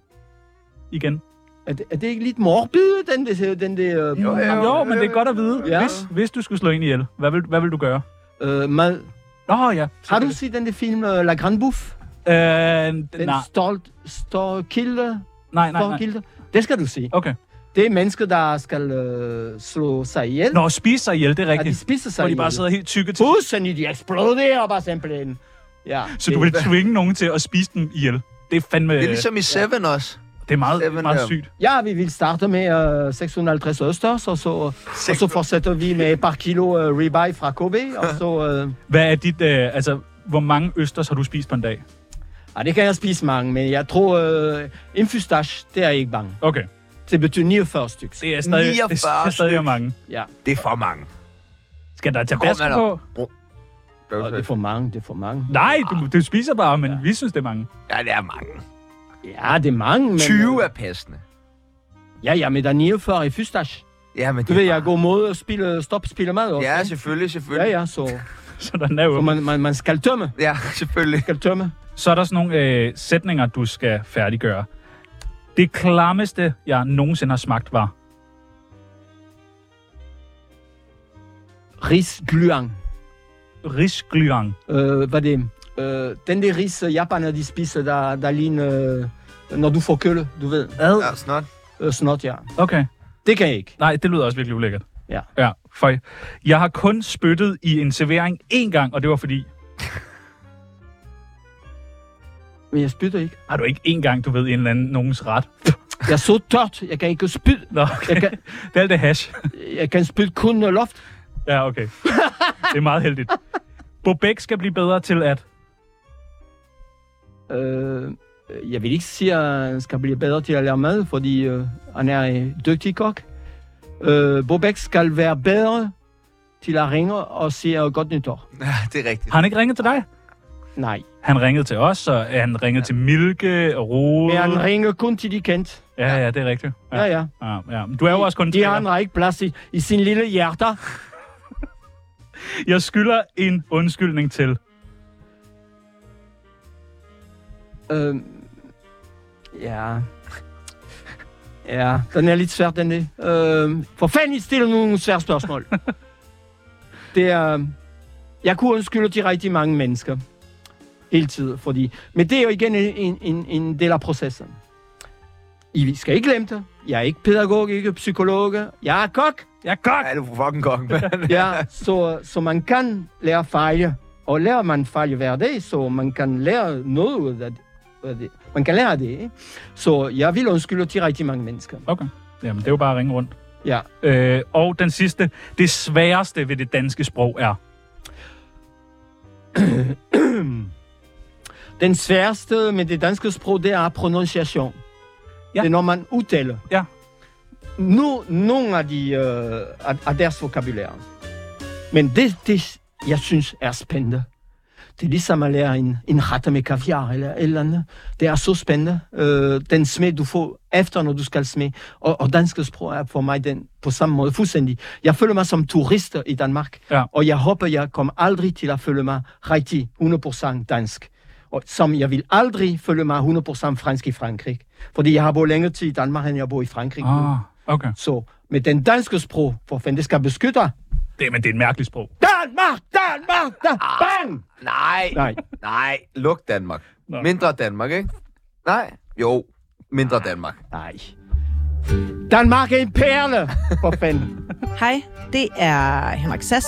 S3: Igen.
S5: Er det, er det ikke lidt morbid, den der... Den der øh,
S3: Jo, jo, men det er godt at vide.
S5: Ja.
S3: Hvis, hvis du skulle slå en ihjel, hvad vil, hvad vil du gøre?
S5: øh, mad.
S3: Nå ja.
S5: Har du set den der film uh, La Grande Bouffe?
S3: Øh,
S5: Den
S3: nej,
S5: stolt, stolt kilde,
S3: nej, nej,
S5: stolt
S3: nej.
S5: kilde. Det skal du se.
S3: Okay.
S5: Det er mennesker, der skal øh, slå sig ihjel.
S3: Nå, spise sig ihjel, det er
S5: og de
S3: rigtigt.
S5: spiser sig
S3: Hvor de
S5: ihjel. Uh!
S3: bare sidder helt tykke til.
S5: Fuldstændig, de eksploderer bare simpelthen. Ja,
S3: Så
S5: det-
S3: du vil tvinge nogen til at spise dem ihjel. Det er fandme...
S2: Det er ligesom i Seven også.
S3: det er meget,
S2: Seven,
S3: meget
S2: ja.
S3: sygt.
S5: ligesom- Ja, vi vil starte med øh, 650 østers, og så, og så fortsætter vi med et par kilo øh, ribeye fra KB, og så... Øh,
S3: Hvad er dit... Øh, altså, hvor mange østers har du spist på en dag?
S5: ja, det kan jeg spise mange, men jeg tror, øh, en fystache, det er jeg ikke bange.
S3: Okay.
S5: Det betyder 49 stykker.
S3: Det er stadig, det er- det er
S2: 49
S3: stadig mange.
S5: Ja,
S2: Det er for mange.
S3: Skal der tage
S2: Kom,
S3: baske
S2: Anna.
S3: på?
S5: og det er for mange, det er for mange.
S3: Nej,
S5: Ah.
S3: du, du spiser bare, men ja. vi synes, det er mange. *laughs*
S2: Ja, det er mange.
S5: Ja, det er mange, men...
S2: 20 er passende.
S5: Ja, ja, men der er 49 i fystache.
S2: Ja, men det
S5: Du
S2: er
S5: ved, jeg er
S2: mange.
S5: god måde at spille, stop spille mad også.
S2: Ja,
S5: ikke?
S2: selvfølgelig, selvfølgelig.
S5: ja, ja, så,
S3: Så der er jo.
S5: så man, man, man skal tømme.
S2: ja. *laughs* ja selvfølgelig.
S5: Skal tømme.
S3: Så er der sådan nogle øh, sætninger, du skal færdiggøre. Det klammeste, jeg nogensinde har smagt, var...
S5: Ris gluang.
S3: Risglyang.
S5: Øh, hvad er det? Øh, den der ris, øh, japaner de spiser, der, der ligner... Øh, når du får kølle, du ved. Ad.
S2: Ja, snart.
S5: Øh, snot, ja.
S3: Okay.
S5: Det kan jeg ikke.
S3: Nej, det lyder også virkelig ulækkert.
S5: Ja.
S3: Ja, for jeg har kun spyttet i en servering én gang, og det var fordi...
S5: Men jeg spytter ikke.
S3: Har du ikke én gang, du ved, en eller anden nogens ret?
S5: Jeg er så tørt. Jeg kan ikke spytte.
S3: Nå, okay.
S5: Jeg kan,
S3: Det er alt det hash.
S5: jeg kan spytte kun øh, loft.
S3: Ja, okay. Det er meget heldigt. Bobæk skal blive bedre til at...
S5: Øh, jeg vil ikke sige, at han skal blive bedre til at lære mad, fordi øh, han er en dygtig kok. Øh, Bobæk skal være bedre til at ringe og sige øh, godt nytår.
S2: Ja, det er rigtigt.
S3: Har han ikke ringet til dig?
S5: Nej,
S3: Han ringede til os, og han ringede ja. til Milke og Rode.
S5: men han ringer kun til de kendte.
S3: Ja, ja, det er rigtigt.
S5: Ja, ja.
S3: ja, ja. Men Du er jo også kun
S5: De
S3: træer.
S5: andre har ikke plads i, i sin lille hjerter.
S3: Jeg skylder en undskyldning til.
S5: Øh, ja. Ja, den er lidt svær, den er. Øh, for fanden, I stiller nogle svære spørgsmål. det er... øhm, Jeg kunne undskylde til rigtig mange mennesker. Hele tiden, fordi... Men det er jo igen en, en, en del af processen. I skal ikke glemme det. Jeg er ikke pædagog, ikke psykolog. Jeg er kok.
S3: Jeg er kok.
S2: Ja, du er fucking kok, mand.
S5: ja, så, så man kan lære fejl. Og lærer man fejl hver dag, så man kan lære noget af det- af det. Man kan lære det. ikke? Så jeg vil undskylde til rigtig mange mennesker.
S3: Okay. Jamen, det er jo bare at ringe rundt.
S5: Ja.
S3: Øh, og den sidste. Det sværeste ved det danske sprog er...
S5: Den sværeste med det danske sprog, det er pronunciation.
S3: Ja.
S5: Ja. Det er, når man udtaler.
S3: Ja.
S5: Nu, nogle af, de, øh, af, af deres vokabulære. Men det, det, jeg synes, er spændende. Det er ligesom at lære en, en rette med kaviar eller et eller andet. Det er så spændende. Øh, den smag, du får efter, når du skal smage. Og, og dansk sprog er for mig den på samme måde fuldstændig. Jeg føler mig som turist i Danmark.
S3: Ja.
S5: Og jeg håber, jeg kommer aldrig til at føle mig rigtig 100% dansk. Og som jeg vil aldrig føle mig 100% fransk i Frankrig. Fordi jeg har boet længere tid i Danmark, end jeg bor i Frankrig. nu.
S3: Ah, okay.
S5: Så med den danske sprog, for fanden, det skal beskytte dig.
S3: Det, men det er et mærkeligt sprog.
S5: Danmark, Danmark, Danmark, bang!
S2: Nej,
S5: Nej,
S2: nej. Luk Danmark.
S3: Nå.
S2: Mindre Danmark, ikke? Nej. Jo, mindre Danmark.
S5: nej. Danmark er en perle, for fanden.
S11: *laughs* Hej, det er Henrik Sass.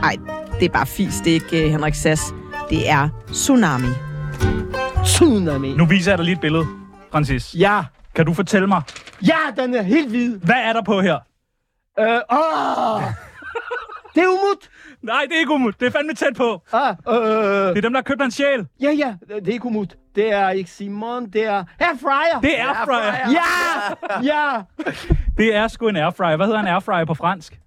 S11: Nej, det er bare fis, det er ikke øh, Henrik Sass. Det er Tsunami.
S5: Tsunami.
S3: Nu viser jeg dig lige et billede, Francis.
S5: Ja,
S3: Kan du fortælle mig,
S5: ja, den er helt hvid.
S3: hvad er der på her?
S5: Øh, åh! Det er umut.
S3: Nej, det er ikke umut. Det er fandme tæt på.
S5: Ah, øh,
S3: Det er dem, der har købt hans sjæl.
S5: ja, ja, det er ikke umut. Det er ikke Simon, det er... Airfryer!
S3: Det er airfryer.
S5: Ja! Ja!
S3: Det er sgu en airfryer. Hvad hedder en airfryer på fransk?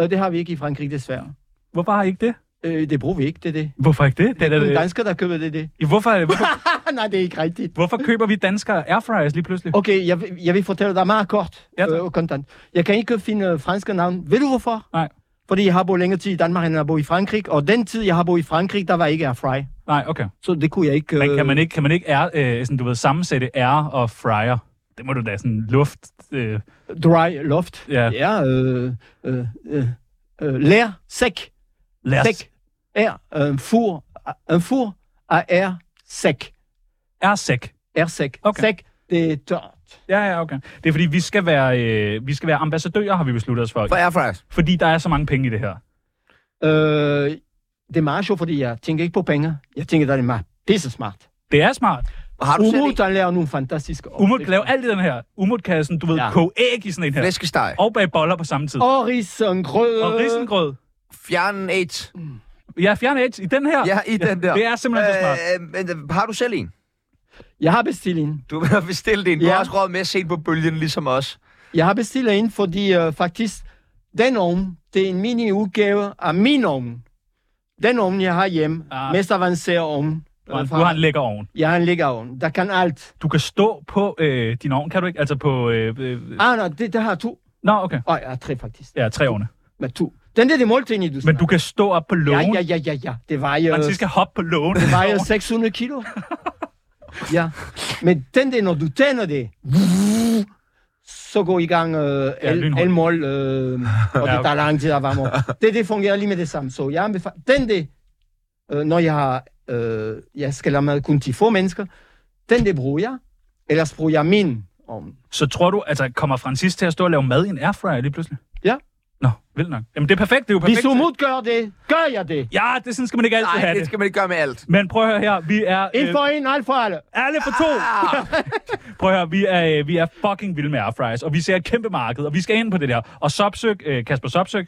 S5: Øh, det har vi ikke i Frankrig, desværre.
S3: Hvorfor har I ikke det?
S5: Øh, det bruger vi ikke, det er det.
S3: Hvorfor ikke det?
S5: Det er
S3: da-
S5: nogle danskere, der køber det, det.
S3: Hvorfor, hvorfor,
S5: Ah, *laughs* nej, det er ikke rigtigt.
S3: hvorfor køber vi danskere airfryers lige pludselig?
S5: Okay, jeg, vil- jeg vil fortælle dig meget kort
S3: Ja,
S5: ja,
S3: tak.
S5: øh, og kontant. Jeg kan ikke finde øh, franske navn. Ved du hvorfor?
S3: Nej.
S5: Fordi jeg har boet længere tid i Danmark, end jeg har boet i Frankrig. Og den tid, jeg har boet i Frankrig, der var ikke airfry.
S3: Nej, okay.
S5: Så det kunne jeg ikke... Øh...
S3: Men kan man ikke, kan man ikke air, øh, sådan, du ved, sammensætte air og fryer? Det må du da sådan luft... Øh,
S5: Dry loft.
S3: Ja.
S5: ja øh, øh, øh, øh, lær, sæk,
S3: lad os...
S5: sæk, air, øh, fur, en fur af air, sæk,
S3: Airsæk.
S5: air, sæk,
S3: Okay.
S5: sæk, det er tørt.
S3: Ja, ja, okay. Det er fordi, vi skal være, øh, vi skal være ambassadører, har vi besluttet os for.
S2: For Airfryers.
S3: Fordi der er så mange penge i det her.
S5: Øh, det er meget sjovt, fordi jeg tænker ikke på penge. Jeg tænker, det er meget pisse smart.
S3: Det er smart.
S2: Har du selv
S5: Umut,
S2: ikke
S5: han laver nogle fantastiske
S3: Umut kan lave alt i den her. Umut kan sådan, du ved, ja.
S5: Ja.
S3: koge æg i sådan en her.
S2: flæskesteg?
S3: Og bage boller på samme tid.
S5: Og risengrød.
S3: Og risengrød.
S2: Fjern et.
S3: Ja, fjerne edge i den her.
S2: Ja, i den der.
S3: Det er simpelthen for smart.
S2: Øh, men øh, har du selv en?
S5: Jeg har bestilt en.
S2: Du har bestilt en. Du
S5: Ja.
S2: har også råd med sent på bølgen, ligesom os.
S5: Jeg har bestilt en, fordi øh, faktisk den ovn, det er en mini-udgave af min ovn. Den ovn, jeg har hjemme,
S3: Ah.
S5: ah. mest avanceret ovn. øh,
S3: Du
S5: fra-
S3: har en lækker ovn.
S5: Jeg har en lækkerovn, der kan alt.
S3: Du kan stå på øh, din ovn, kan du ikke? Altså på... Øh, øh.
S5: Ah, nej, det, der har to.
S3: Nå, okay.
S5: Åh, oh, jeg har tre faktisk.
S3: Ja, tre ovne.
S5: Men to. Den der, det er måltiden, du
S3: Men
S5: snakker.
S3: du kan stå op på
S5: Ja,
S3: lågen.
S5: ja, ja, ja, ja. Det vejer,
S3: Man skal hoppe på lågen.
S5: det vejer 600 kilo. *laughs* ja. Men den der, når du tænder det, så går i gang øh,
S3: Ja,
S5: el,
S3: lynhurtigt.
S5: elmål, øh,
S3: *laughs*
S5: og
S3: Ja,
S5: det tager lang tid at varme
S3: *laughs*
S5: op. Det, det fungerer lige med det samme. Så jeg anbefaler, den der, øh, når jeg, har, øh, jeg skal lade mad kun til få mennesker, den der bruger jeg, ellers bruger jeg e min ovn.
S3: *laughs* Så tror du, altså kommer Francis til at stå og lave mad i en airfryer lige pludselig?
S5: Ja.
S3: Nå, vildt nok. Jamen det er perfekt, det er jo perfekt.
S5: Hvis Umut gør det, gør jeg det.
S3: Ja, det sådan skal man ikke altid
S2: Nej,
S3: have
S2: det
S3: det.
S2: skal man ikke gøre med alt.
S3: Men prøv at høre her, vi er... øh,
S5: En for en, alt for alle.
S3: alle for to!
S2: Ah!
S3: *laughs* prøv at høre, vi er, øh, vi er fucking vilde med airfryers, og vi ser et kæmpe marked, og vi skal ind på det der. Og Sopsøk, øh, Kasper Sopsøk,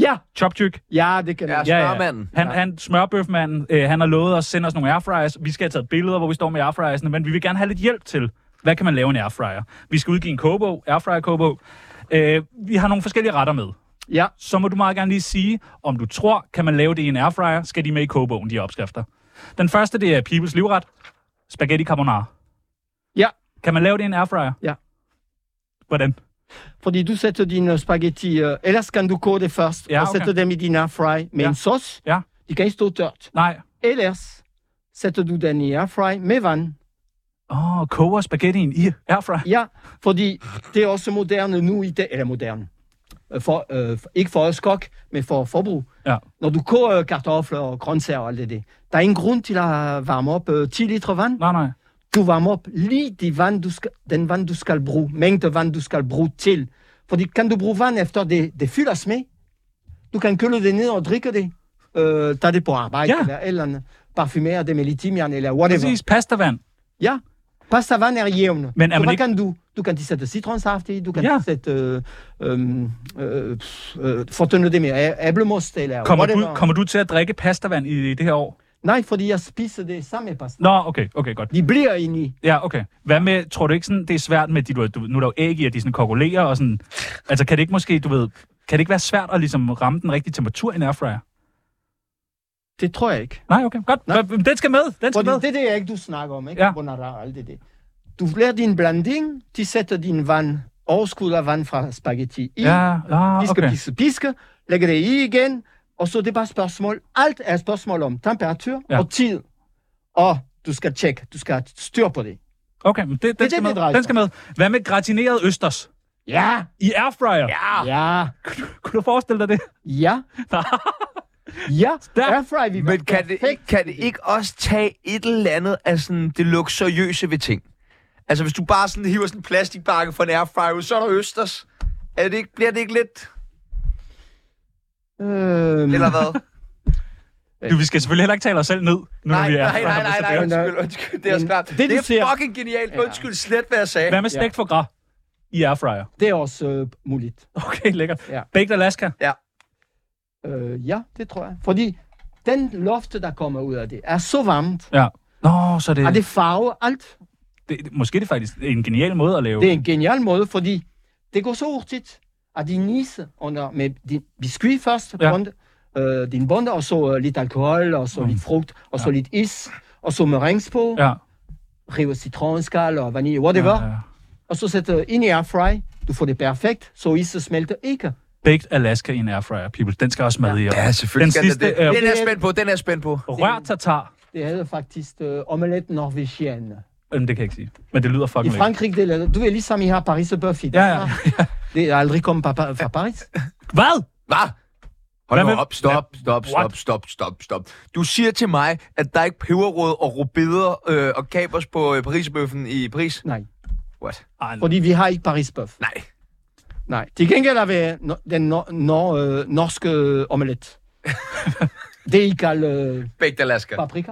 S5: Ja,
S3: Choptyk,
S5: ja, det kan
S2: Ja,
S5: jeg.
S3: Ja, ja.
S2: smørmanden.
S3: Han, ja. han smørbøfmanden, øh, han har lovet at sende os nogle airfryers. Vi skal have taget billeder, hvor vi står med airfryersene, men vi vil gerne have lidt hjælp til, hvad kan man lave i en airfryer? Vi skal udgive en kogebog, airfryer-kogebog. Øh, vi har nogle forskellige retter med.
S5: Ja,
S3: Så må du meget gerne lige sige, om du tror, kan man lave det i en airfryer, skal de med i kogebogen, de her opskrifter. Den første, det er Peoples livret, spaghetti carbonara.
S5: Ja.
S3: Kan man lave det i en airfryer?
S5: Ja.
S3: Hvordan?
S5: fordi du sætter din øh, spaghetti, øh, ellers kan du koge det først,
S3: Ja,
S5: og
S3: okay.
S5: sætte dem i din airfry med
S3: Ja.
S5: en sauce.
S3: Ja.
S5: De kan ikke stå tørt.
S3: Nej.
S5: Ellers sætter du den i airfry med vand.
S3: Åh, oh, koger spaghettien i airfryer.
S5: Ja, fordi det er også moderne nu i dag, eller moderne. Øh, For, øh, for- ikke for os kok, men for forbrug.
S3: Ja.
S5: Når du euh, koger kartofler og grøntsager og alt det der, der er ingen grund til at varme op øh, 10 liter vand.
S3: Nej, nej.
S5: Du varmer op lige de vand, du skal, den vand, du skal bruge, mængde vand, du skal bruge til. Fordi kan du bruge vand efter det, det fyldes med, du kan køle det ned og drikke det. Øh, tag det på arbejde, ja. eller et eller andet. Parfumere det med litimian, eller whatever.
S3: Præcis, pastavand.
S5: Ja, pastavand er jævn.
S3: Men er
S5: så
S3: man
S5: hvad
S3: ikke-
S5: kan du? Du kan sætte citronsaft i, du kan
S3: Ja.
S5: ja. sætte øh, øh, øh, pff, øh, fortynde det med æ- æblemost, eller
S3: Kommer
S5: whatever.
S3: du, kommer du til at drikke pastavand i det her år?
S5: Nej, fordi jeg spiser det samme pasta.
S3: Nå, okay, okay, godt.
S5: De bliver inde i.
S3: Ja, okay. Hvad med, tror du ikke sådan, det er svært med, de, du, ved, du, nu er der jo æg i, at de sådan kokulerer og sådan, altså kan det ikke måske, du ved, kan det ikke være svært at ligesom ramme den rigtige temperatur i en airfryer?
S5: Det tror jeg ikke.
S3: Nej, okay, godt. Nej. Den skal med, den skal
S5: Fordi
S3: med.
S5: det er det, jeg ikke du snakker om, ikke?
S3: Ja.
S5: Ja. Bonara, alt det der. Du laver din blanding, de sætter din vand, overskud af vand fra spaghetti i.
S3: Ja, ja,
S5: piske,
S3: okay.
S5: piske, piske, lægger det i igen, og så det er bare spørgsmål. Alt er et spørgsmål om temperatur
S3: Ja.
S5: ja. og tid. Og du skal tjekke, du skal have styr på det.
S3: Okay, men det, den, skal
S5: det, det
S3: med.
S5: drejer sig
S3: den skal med. Hvad med gratineret østers?
S5: Ja!
S3: I airfryer? Ja.
S5: Ja!
S3: Kunne du forestille dig det?
S5: Ja! ja! Airfryer, vi
S2: Men kan det, ikke- kan det ikke også tage et eller andet af sådan det luksuriøse ved ting? Altså, hvis du bare sådan hiver sådan en plastikbakke fra en airfryer, ud, så er der østers. Er det ikke, bliver det ikke lidt,
S5: Øhm,
S2: eller hvad?
S3: Du, vi skal selvfølgelig heller ikke tale os selv ned, nu når
S2: nej,
S3: vi øh, er
S2: nej, nej, nej, nej,
S3: airfryer.
S2: undskyld, undskyld, det er også klart.
S5: det,
S2: Det,
S5: du
S2: er
S5: siger-
S2: fucking genialt, undskyld, slet hvad jeg sagde.
S3: Hvad med stegt for gras i airfryer?
S5: Det er også øh, muligt.
S3: Okay, lækkert.
S5: Ja.
S3: Baked Alaska?
S5: Øh, ja, det tror jeg. Fordi den luft, der kommer ud af det, er så varmt.
S3: Ja. Nå, så det,
S5: Er det farve, alt.
S3: det, det, måske er det faktisk en genial måde at lave.
S5: Det er en genial måde, fordi det går så hurtigt, at din is under med din biskuit først,
S3: Ja.
S5: ja. bonde, øh, din bonde, og så øh, lidt alkohol, og så mm. lidt frugt, og så lidt is, og så meringues på, ja.
S3: Ja.
S5: rive citronskal og vanilje, whatever. Ja,
S3: Ja,
S5: ja.
S3: ja.
S5: Og så sætte ind i airfry, du får det perfekt, så isen smelter ikke.
S3: Baked Alaska i en airfryer, people. Den skal også med i.
S2: Ja, selvfølgelig
S3: Den
S2: skal
S3: sidste øh,
S2: det.
S3: er
S2: Den er jeg spændt på, den er jeg spændt på.
S3: rør tatar.
S5: Det hedder faktisk øh, omelet norvégienne.
S3: Øhm, det kan jeg ikke sige. Men det lyder
S5: I
S3: fucking lækkert.
S5: Frankrig, det lader, du er ligesom I har Paris Buffy.
S3: Ja, ja.
S5: Det er aldrig kommet fra, fra Paris.
S3: *laughs* Hvad?
S2: Hvad?
S3: Hvad
S2: Hold nu
S3: med-
S2: op, stop, stop, stop,
S3: What?
S2: stop, stop, stop. Du siger til mig, at der er ikke peberrød og rubeder øh, og kapers på øh, Parisbøffen i Paris?
S5: Nej,
S2: What?
S3: Ej,
S5: fordi vi har ikke Paris Buff.
S2: Nej.
S5: Nej, til gengæld er vi no- den nor- nor- øh, norske øh,
S3: *laughs*
S5: omelet. det I kalder øh,
S2: Baked Alaska.
S5: paprika.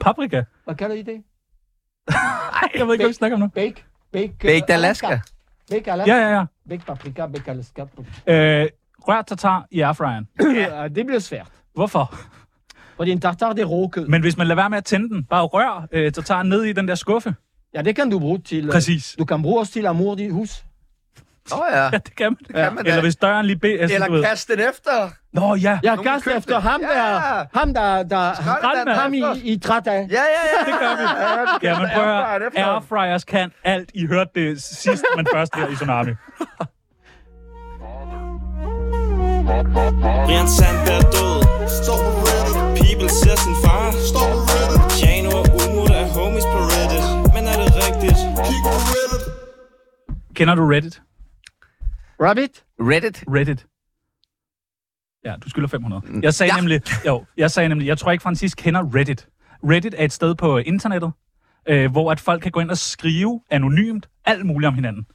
S3: paprika?
S5: Hvad kalder I det?
S3: Jeg ved ikke, hvad vi snakker om nu.
S5: Bake. Bake, øh,
S2: Baked Alaska.
S5: Bake Alaska.
S3: Ja, ja, ja.
S5: Bake paprika, bake Alaska.
S3: Øh, rør tatar i airfryeren.
S5: Ja, det bliver svært.
S3: Hvorfor?
S5: Fordi en tartar, det er råkød.
S3: Men hvis man lader være med at tænde den, bare rør øh, tatar ned i den der skuffe. *laughs*
S5: Ja, det kan du bruge til... øh,
S3: Præcis.
S5: Du kan bruge også til amour i hus.
S2: Åh oh,
S3: *laughs*
S2: ja.
S3: Ja, det kan man. Det
S2: kan man da.
S3: Eller hvis døren lige beder. Altså, du
S2: Eller
S3: ved.
S2: kast den efter.
S3: Nå ja,
S5: Jeg
S2: Nogen
S5: kaster
S2: købte.
S5: efter ham, der...
S2: Ja.
S5: Ham, der... der
S2: Skraldemand.
S5: ham i, i træt af.
S2: Ja, ja, ja.
S3: det gør vi. *laughs* Ja, men prøv at
S2: airfryeren
S3: høre.
S2: efter.
S3: Airfryers kan alt. I hørte det sidst, men først her i Tsunami.
S8: Brian Sand er død People ser sin far Jano og Umut er homies på Reddit Men er det rigtigt?
S3: Kender du Reddit?
S5: Rabbit?
S2: Reddit.
S3: Reddit. Ja, du skylder 500. Jeg sagde ja. nemlig, jo, jeg sagde nemlig, jeg tror ikke, Francis kender Reddit. Reddit er et sted på øh, internettet, øh, hvor at folk kan gå ind og skrive anonymt alt muligt om hinanden.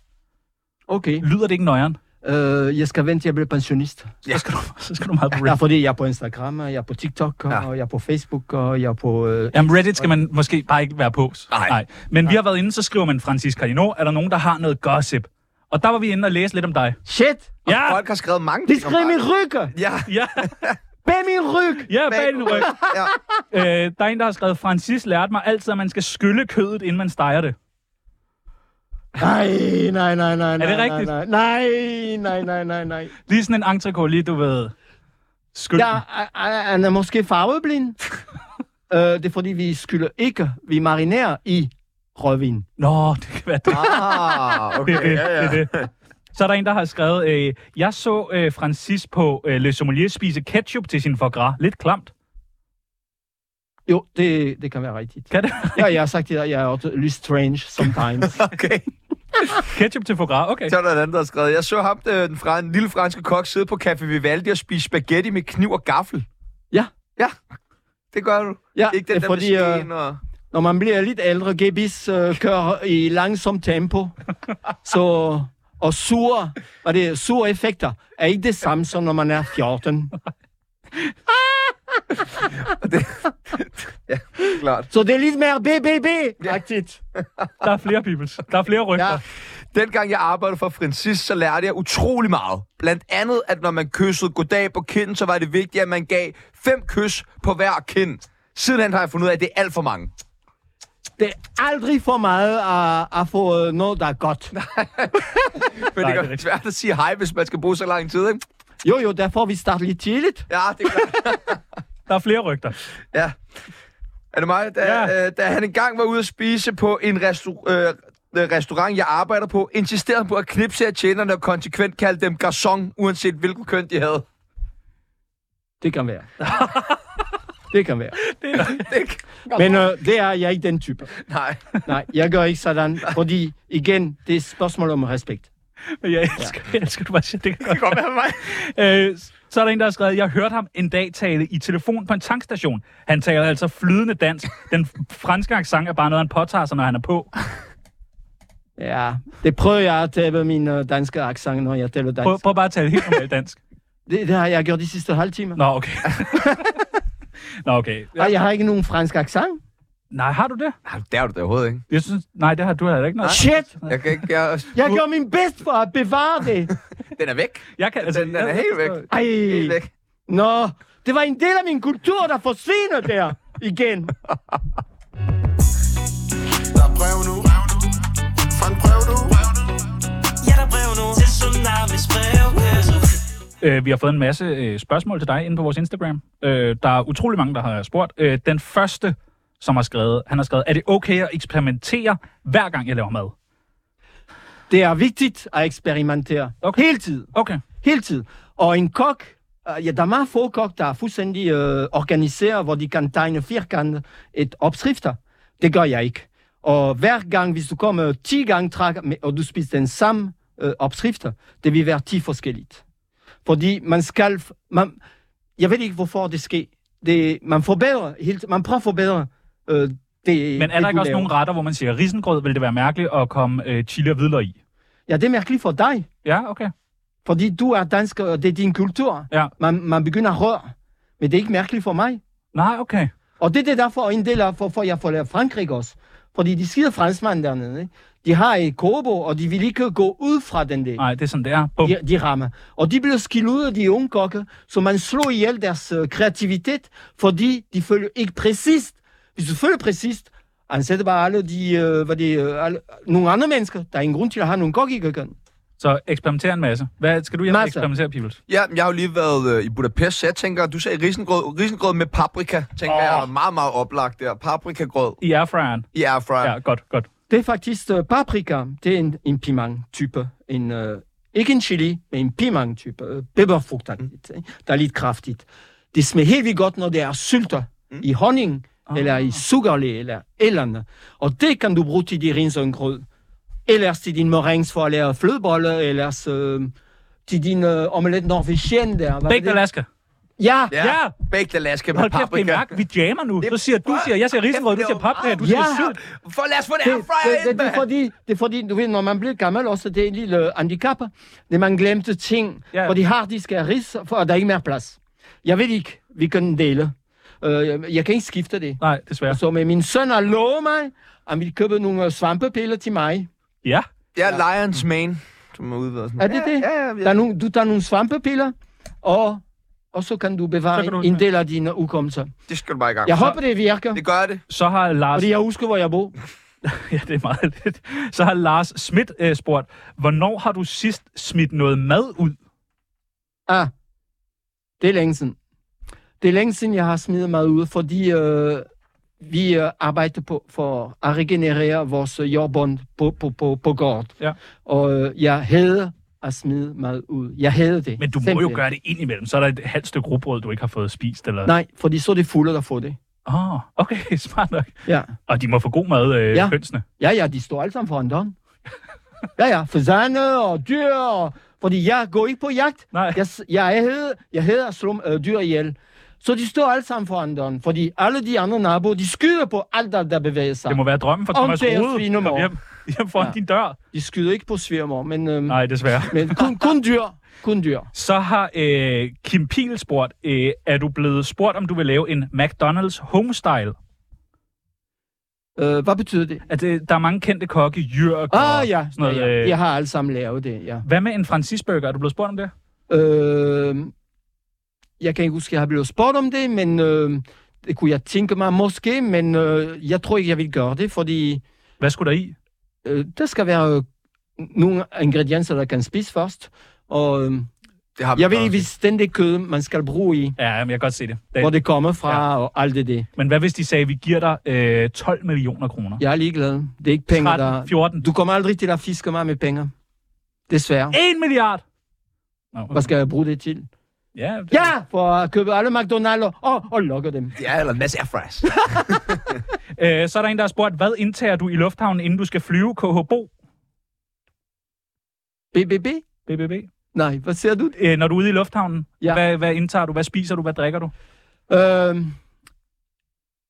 S5: Okay.
S3: Lyder det ikke nøjeren?
S5: Øh, jeg skal vente til jeg bliver pensionist.
S3: Ja. Så, skal du, så skal du meget på
S5: Ja,
S3: Reddit.
S5: fordi jeg er på Instagram, og jeg er på TikTok, og,
S2: Ja.
S5: og jeg er på Facebook, og jeg er på... Øh,
S3: Jamen, Reddit skal man måske bare ikke være på.
S2: Nej.
S3: Men vi har været inde, så skriver man, Francis Cardino, er der nogen, der har noget gossip? Og der var vi inde og læse lidt om dig.
S5: shit!
S3: Ja,
S2: Folk har skrevet mange
S5: De
S2: ting om
S5: skrev min
S2: dig.
S5: ryg!
S2: Ja.
S3: ja,
S5: Bag min ryg!
S3: ja, bag din ryg.
S2: Ja.
S3: Øh, der er en, der har skrevet, Francis lærte mig altid, at man skal skylle kødet, inden man steger det.
S5: Nej, nej, nej, nej, nej.
S3: det rigtigt?
S5: Nej, nej, nej, nej, nej, nej.
S3: Lige sådan en entrecote, lige du ved. Skyld.
S5: Jeg er- er- han er måske *laughs* farveblind. øh, det er fordi, vi skylder ikke, vi marinerer i rødvin.
S3: Nå, det kan være det.
S2: Ah,
S3: Det er
S2: okay.
S3: det,
S2: Ja, ja.
S3: det, er det. Så er der en, der har skrevet, øh, jeg så øh, Francis på øh, Le Sommelier spise ketchup til sin foie gras. Lidt klamt.
S5: Jo, det, det kan være rigtigt.
S3: Kan det? *laughs*
S5: Ja, jeg har sagt det, jeg er også lidt strange *laughs* sometimes.
S2: *laughs* Okay.
S3: ketchup til foie gras, okay.
S2: Så er der en anden, der har skrevet, jeg så ham, øh, den, fra, en lille franske kok, sidde på Café Vivaldi og spise spaghetti med kniv og gaffel.
S5: Ja.
S2: Ja, det gør du.
S5: Ja,
S2: Ikke den
S5: det
S2: der
S5: er
S2: fordi,
S5: fordi,
S2: med skeen og...
S5: Når man bliver lidt ældre, gebis øh, kører i langsomt *laughs* tempo. Så, og sure, og det er sure effekter er ikke det samme som når man er 14.
S2: Klart.
S5: Så det er lidt mere BBB-agtigt.
S3: Der er flere peoples. Der er flere rygter. Ja.
S2: Dengang jeg arbejdede for Francis, så lærte jeg utrolig meget. Blandt andet, at når man kyssede goddag på kinden, så var det vigtigt, at man gav fem kys på hver kind. Sidenhen har jeg fundet ud af, at det er alt for mange.
S5: Det er aldrig for meget at, at få øh, noget, der er godt.
S2: Men det er godt svært at sige hej, hvis man skal bruge så lang tid, ikke?
S5: Jo, jo, derfor vi starter lidt tidligt.
S2: Ja, det er klart.
S3: Der er flere rygter.
S2: Ja. Er det mig? Da, ja. øh, da han engang var ude at spise på en restau- øh, øh, restaurant, jeg arbejder på, insisterede han på at knipse af tjenerne og konsekvent kalde dem garçon, uanset hvilken køn de havde. *laughs*
S5: Det
S3: *laughs*
S5: kan være. Det kan være.
S2: Det,
S5: Men øh, det er jeg ikke den type.
S2: nej.
S5: Nej, jeg gør ikke sådan, fordi igen, det er et spørgsmål om respekt.
S3: Men jeg elsker, ja. jeg elsker du bare siger, det kan godt
S2: Kom med mig.
S3: Øh, så er der en, der har skrevet, jeg hørte ham en dag tale i telefon på en tankstation. Han taler altså flydende dansk. Den franske accent er bare noget, han påtager sig, når han er på.
S5: Ja, det prøver jeg at tabe min øh, danske accent, når jeg taler dansk.
S3: Prøv, prøv bare at tale helt normalt dansk.
S5: Det, det har jeg gjort de sidste halve timer.
S3: Nå, okay. *laughs* Nå, okay.
S5: Og jeg har ikke nogen fransk accent.
S3: Nej, har du det?
S2: Nej, det er du da overhovedet ikke.
S3: Jeg synes, nej, det har du heller ikke noget.
S5: Shit!
S2: Jeg kan ikke... Jeg,
S5: Jeg gør min bedst for at bevare det.
S2: den er væk.
S3: Jeg kan,
S2: Den, den er
S3: jeg-
S2: helt væk.
S5: Ej,
S2: Helt væk.
S5: nå. Det var en del af min kultur, der forsvinder der igen.
S9: Der er brev nu. Fra en brev nu.
S8: Ja, der er brev nu til Tsunamis brevkasse.
S3: Øh, vi har fået en masse øh, spørgsmål til dig inde på vores Instagram. Øh, der er utrolig mange, der har spurgt. Øh, den første, som har skrevet, han har skrevet, er det okay at eksperimentere, hver gang jeg laver mad?
S5: Det er vigtigt at eksperimentere.
S3: Okay.
S5: Hele tiden.
S3: Okay.
S5: Hele tiden. Og en kok, øh, ja, der er meget få kok, der er fuldstændig øh, organiseret, hvor de kan tegne firkant et opskrifter. Det gør jeg ikke. Og hver gang, hvis du kommer 10 gange træk, med- og du spiser den samme øh, opskrifter, det vil være 10 forskelligt. Fordi man skal... f- Man, jeg ved ikke, hvorfor det sker. Det, man forbedrer, helt, man prøver at forbedre øh, det,
S3: Men er
S5: det,
S3: der
S5: du
S3: ikke også
S5: laver.
S3: nogle retter, hvor man siger, risengrød vil det være mærkeligt at komme øh, chili og hvidløg i?
S5: Ja, det er mærkeligt for dig.
S3: Ja, okay.
S5: Fordi du er dansk, og det er din kultur.
S3: Ja.
S5: Man, man begynder at røre. Men det er ikke mærkeligt for mig.
S3: Nej, okay.
S5: Og det er det derfor, en del af, hvorfor jeg får lært øh, Frankrig også. Fordi de skide franskmænd dernede, ikke? de har et kobo, og de vil ikke gå ud fra den del.
S3: Nej, det er sådan, det er. Bum.
S5: De, de rammer. Og de blev skilt ud af de unge kokke, så man slog ihjel deres øh, kreativitet, fordi de følger ikke præcist. Hvis du følger præcist, ansætter bare alle de, øh, hvad det, øh, alle, nogle andre mennesker. Der er ingen grund til at have nogle kokke i køkkenet.
S3: Så eksperimenter en masse. Hvad skal du hjem og
S5: Masser.
S3: eksperimentere, Pibels?
S2: Ja, men jeg har jo lige været øh, i Budapest, så jeg tænker, du sagde risengrød, risengrød med paprika. Tænker oh. jeg er meget, meget oplagt der. Paprikagrød
S3: I airfryeren?
S2: i airfryer. Ja.
S3: Ja, godt, godt.
S5: Det er faktisk øh, paprika. Det er en, en piment-type. En, øh, ikke en chili, men en piment-type. Øh, Peberfrugt, mm. der er lidt kraftigt. Det smager helt vildt godt, når det er sylter mm. i honning, ah. eller i sukkerle, eller eller Og det kan du bruge til din risengrød. Ellers til din morængs for at lave flødebolle, ellers øh, til din øh, omelet norvegien der. Hvad er
S3: Baked
S5: det?
S3: Alaska.
S5: Ja,
S2: Ja.
S3: Ja.
S2: Baked Alaska med
S3: Hold kæft, det er
S2: paprika.
S3: mærke. Vi jammer nu.
S2: Det-
S3: Så siger du, siger, jeg siger risengrød, du siger paprika, du siger
S5: Ja.
S3: sylt.
S2: For lad os få en
S5: det,
S2: airfryer
S5: det,
S2: ind,
S5: det, det, er
S2: mand.
S5: fordi, det er fordi, du ved, når man bliver gammel også, det er en lille øh, handicap. Det er, man glemte ting,
S3: Ja.
S5: ja. fordi harddisk er ris, for der er ikke mere plads. Jeg ved ikke, vi kan dele. Uh, jeg, jeg kan ikke skifte det.
S3: Nej, desværre.
S5: Så med min søn har lovet mig, han vil købe nogle øh, svampepiller til mig.
S3: Ja.
S2: Ja, Lions Mane, som er udvidet.
S5: Er det
S2: ja,
S5: det?
S2: Ja, ja, ja.
S5: Der er nogle, du tager nogle svampepiller, og, og så kan du bevare
S3: Så kan du-
S5: en del af dine ukommelser.
S2: Det skal du bare i gang.
S5: Jeg
S2: med.
S5: håber, det virker,
S2: Det gør det.
S3: Så har Lars...
S5: fordi jeg husker, hvor jeg bor.
S3: *laughs* Ja, det er meget lidt. Så har Lars Schmidt øh, spurgt, hvornår har du sidst smidt noget mad ud?
S5: Ah, det er længe siden. Det er længe siden, jeg har smidt mig ud, fordi øh, vi øh, arbejder på for at regenerere vores øh, jordbund på, på, på, på gård.
S3: Ja.
S5: Og øh, jeg hader at smide mig ud. Jeg hader det.
S3: Men du må jo
S5: Simpelthen.
S3: gøre det ind imellem. Så er der et halvt stykke rugbrød, du ikke har fået spist. Eller...
S5: Nej, fordi så er det fulde, der får det.
S3: Åh, oh, okay, *laughs* smart nok.
S5: Ja,
S3: Og de må få god mad, øh, ja.
S5: Ja.
S3: hønsene.
S5: ja, ja de står alle sammen
S3: *laughs*
S5: foran døren. Ja, ja, fasaner og dyr, og, fordi jeg går ikke på jagt.
S3: Nej.
S5: Jeg, s- jeg, hader, jeg hader at slå øh, dyr ihjel. Så de står alle sammen foran døren, fordi alle de andre naboer, de skyder på alt, der, der bevæger sig.
S3: Det må være drømmen for
S5: Om
S3: Thomas
S5: det er
S3: Rode.
S5: svinemor.
S3: Hjem, hjem foran ja. din dør.
S5: De skyder ikke på svigermor, men... Øhm,
S3: Nej, desværre.
S5: *laughs* Men kun, kun dyr. Kun dyr.
S3: Så har øh, Kim Piel spurgt, øh, er du blevet spurgt, om du vil lave en McDonald's homestyle?
S5: Øh, hvad betyder det?
S3: At øh, der er mange kendte kokke, Jørg
S5: Ah,
S3: og
S5: ja.
S3: sådan noget.
S5: ja, ja.
S3: øh,
S5: Jeg har alle sammen lavet det, ja.
S3: Hvad med en francisburger? Er du blevet spurgt om det?
S5: Øh, jeg kan ikke huske, at jeg har blevet spurgt om det, men øh, det kunne jeg tænke mig måske, men øh, jeg tror ikke, jeg vil gøre det, fordi...
S3: Hvad skulle der i?
S5: Øh, der skal være øh, nogle ingredienser, der kan spise først, og øh,
S2: det har
S5: jeg ved ikke, hvis den det kød, man skal bruge i,
S3: Ja, men jeg kan godt se det. det
S5: hvor det kommer fra oh, og alt det det.
S3: Men hvad hvis de sagde, at vi giver dig øh, 12 millioner kroner?
S5: Jeg er ligeglad. Det er ikke penge,
S3: 13,
S5: der...
S3: 14.
S5: Du kommer aldrig til at fiske mig med penge. Desværre.
S3: 1 milliard! Nå,
S5: Hvad skal jeg bruge det til?
S3: Ja, det...
S5: Ja, for at købe alle ah, McDonald's oh, og, og lukke dem.
S2: Ja, eller en masse airfries.
S3: Øh, så er der en, der har spurgt, hvad indtager du i lufthavnen, inden du skal flyve KHBO?
S5: BBB?
S3: BBB?
S5: Nej, hvad ser du?
S3: Øh, når du er ude i lufthavnen,
S5: Ja.
S3: ja. hvad, hvad indtager du? Hvad spiser du? Hvad drikker du?
S5: Øh,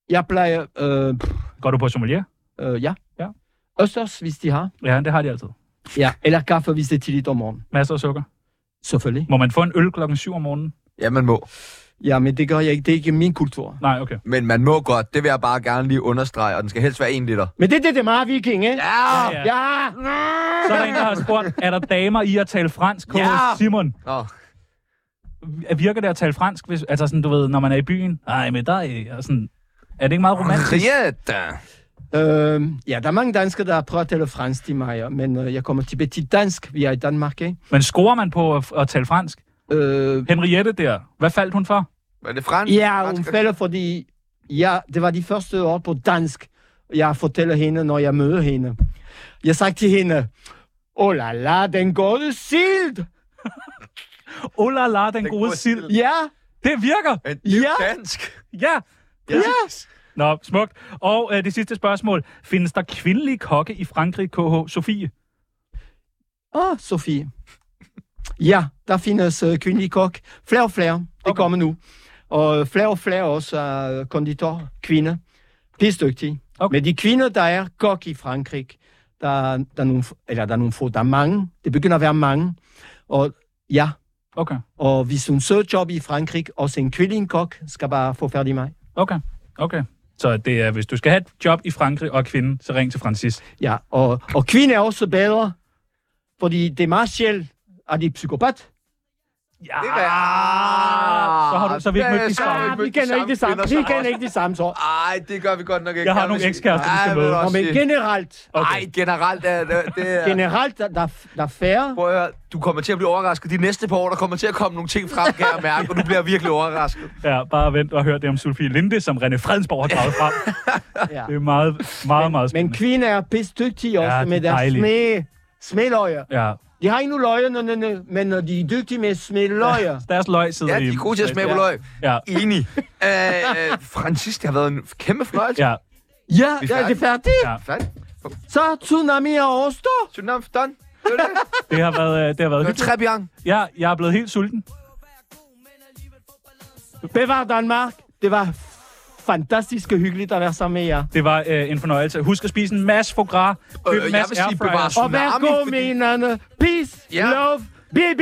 S5: jeg plejer... Øh, pff,
S3: Går du på sommelier?
S5: øh, ja.
S3: Ja.
S5: Østers, hvis de har.
S3: Ja, det har de altid.
S5: Ja. Eller kaffe, hvis det er tidligt om morgenen.
S3: Masser af sukker.
S5: Selvfølgelig.
S3: Må man få en øl klokken 7 om morgenen?
S2: ja, man må.
S5: Ja, men det gør jeg ikke. Det er ikke min kultur.
S3: Nej, okay.
S2: Men man må godt. Det vil jeg bare gerne lige understrege, og den skal helst være en liter.
S5: Men det, det, det er meget viking, ikke?
S2: Ja!
S3: Ah, Ja.
S5: Ja!
S3: Så er der en, der har spurgt, er der damer i at tale fransk hos
S2: Ja.
S3: Simon?
S2: Nå.
S3: Virker det at tale fransk? Hvis, altså sådan, du ved, når man er i byen. Nej, men der er og sådan... Er det ikke meget romantisk?
S2: Rieta.
S5: Øh, ja, der er mange danskere, der prøver at tale fransk til mig, ja, men øh, jeg kommer til petit dansk. Vi er i Danmark, ikke?
S3: Men scorer man på at, at tale fransk?
S5: Øh,
S3: Henriette der, hvad faldt hun for?
S2: Var det fransk?
S5: ja, hun
S2: Fransk?
S5: falder, fordi ja, det var de første år på dansk, jeg fortæller hende, når jeg møder hende. Jeg sagde til hende, oh la la, den gode sild!
S3: Oh la la, den, gode
S2: gode
S3: sild.
S5: Ja,
S3: Det virker!
S2: Men det er jo
S5: Ja.
S2: dansk.
S3: Ja!
S5: ja!
S3: Nå, smukt. Og øh, det sidste spørgsmål. Findes der kvindelige kokke i Frankrig, KH? Sofie?
S5: Åh, oh, Sofie. Ja, der findes øh, kvindelig kok. Flere og flere. Det okay. kommer nu. Og flere og flere også er øh, konditor, kvinder. Pisse dygtige.
S3: Okay.
S5: Okay. Men de kvinder, der er kok i Frankrig, der, der, er nogle, f- eller der er nogle få, der er mange. Det begynder at være mange. Og ja,
S3: Okay.
S5: og hvis hun søger job i Frankrig, også en kvindelig kok, skal bare få færdig mig.
S3: Okay. Okay. Så det er, hvis du skal have et job i Frankrig og er kvinde, så ring til Francis.
S5: Ja, og, og kvinder er også bedre, fordi det er meget sjældent, at de er psykopat.
S3: Ja!
S2: Det er-
S3: Så har du- så har vi ikke mødt de
S2: Ja, så har
S3: samme.
S2: vi
S5: Vi
S2: ikke mødt de
S5: kender
S2: samme
S5: ikke det samme.
S2: kvinder,
S5: Vi
S2: så-
S5: kender ikke det samme, så.
S2: Ej, det gør vi godt nok ikke.
S3: Jeg har
S2: kan
S3: nogle
S2: vi sige.
S3: ekskærester, vi
S2: Ej,
S3: skal
S2: vil
S3: møde.
S2: jeg
S5: Nå,
S2: også
S5: men
S2: sige.
S5: generelt,
S3: Okay.
S2: Ej, generelt er det... det er,
S5: generelt der, der, er- der er færre.
S2: Prøv at høre, du kommer til at blive overrasket. De næste par år, der kommer til at komme nogle ting frem, kan jeg mærke, og du bliver virkelig overrasket.
S3: Ja, bare vent og hør det om Sofie Linde, som René Fredensborg har draget frem.
S5: Ja.
S3: Det er meget, meget, meget
S5: Men
S3: spændende.
S5: kvinder er pisse dygtige også
S3: Ja,
S5: ja,
S3: de er
S5: med deres
S3: dejlige.
S5: smed, smedløjer.
S3: Ja,
S5: De har ikke nogen løjer, når- når- men når de er dygtige med smedløjer. Ja.
S3: deres løg sidder
S2: Ja,
S3: i...
S2: de er gode til at smage på
S3: Ja.
S2: løg.
S3: Ja,
S2: Enig. *laughs* Øh, øh, Francis, det har været en kæmpe fornøjelse.
S3: ja.
S5: Ja,
S2: Vi er
S5: ja, det er
S2: færdige.
S5: færdigt.
S3: Ja.
S5: Ja.
S2: Færdig.
S5: Så er tsunami er overstået.
S2: Tsunami, done. Det var det.
S3: Det har været, øh, det har været
S2: Det var
S3: hyggeligt.
S2: Tre bjørn.
S3: Ja, jeg er blevet helt sulten.
S5: Bevar Danmark. Det var fantastisk og hyggeligt at være sammen med jer.
S3: Det var øh, en fornøjelse. Husk at spise en masse foie gras. Køb
S2: Øh,
S3: en
S2: jeg
S3: masse
S2: vil sige,
S3: airfryer.
S2: bevar
S5: Og vær
S3: Ah,
S2: Tsunami,
S5: god
S2: fordi-
S5: med hinanden. Peace,
S2: Ja.
S5: love, BBB.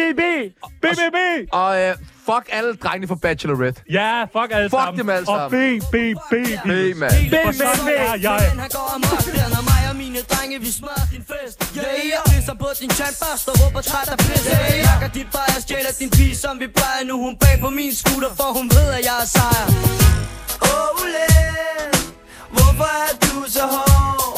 S3: BBB!
S2: Og øh, fuck alle drengene fra Bachelorette.
S3: Ja, fuck alle
S2: Fuck
S3: sammen.
S2: dem alle
S3: Og B,
S2: sammen.
S3: B, B, B.
S2: Hey, mand.
S3: Og så er jeg...
S12: Han går amok, der når mig og mine drenge, vi smadrer din fest Yeah, jeg pisser på din tandbørst og råber træt af pis Yeah, jeg jakker dit far, jeg stjæler din pige, som vi plejer Nu er hun bag på min scooter, for hun ved, at jeg er sejr Ole, hvorfor er du så hård?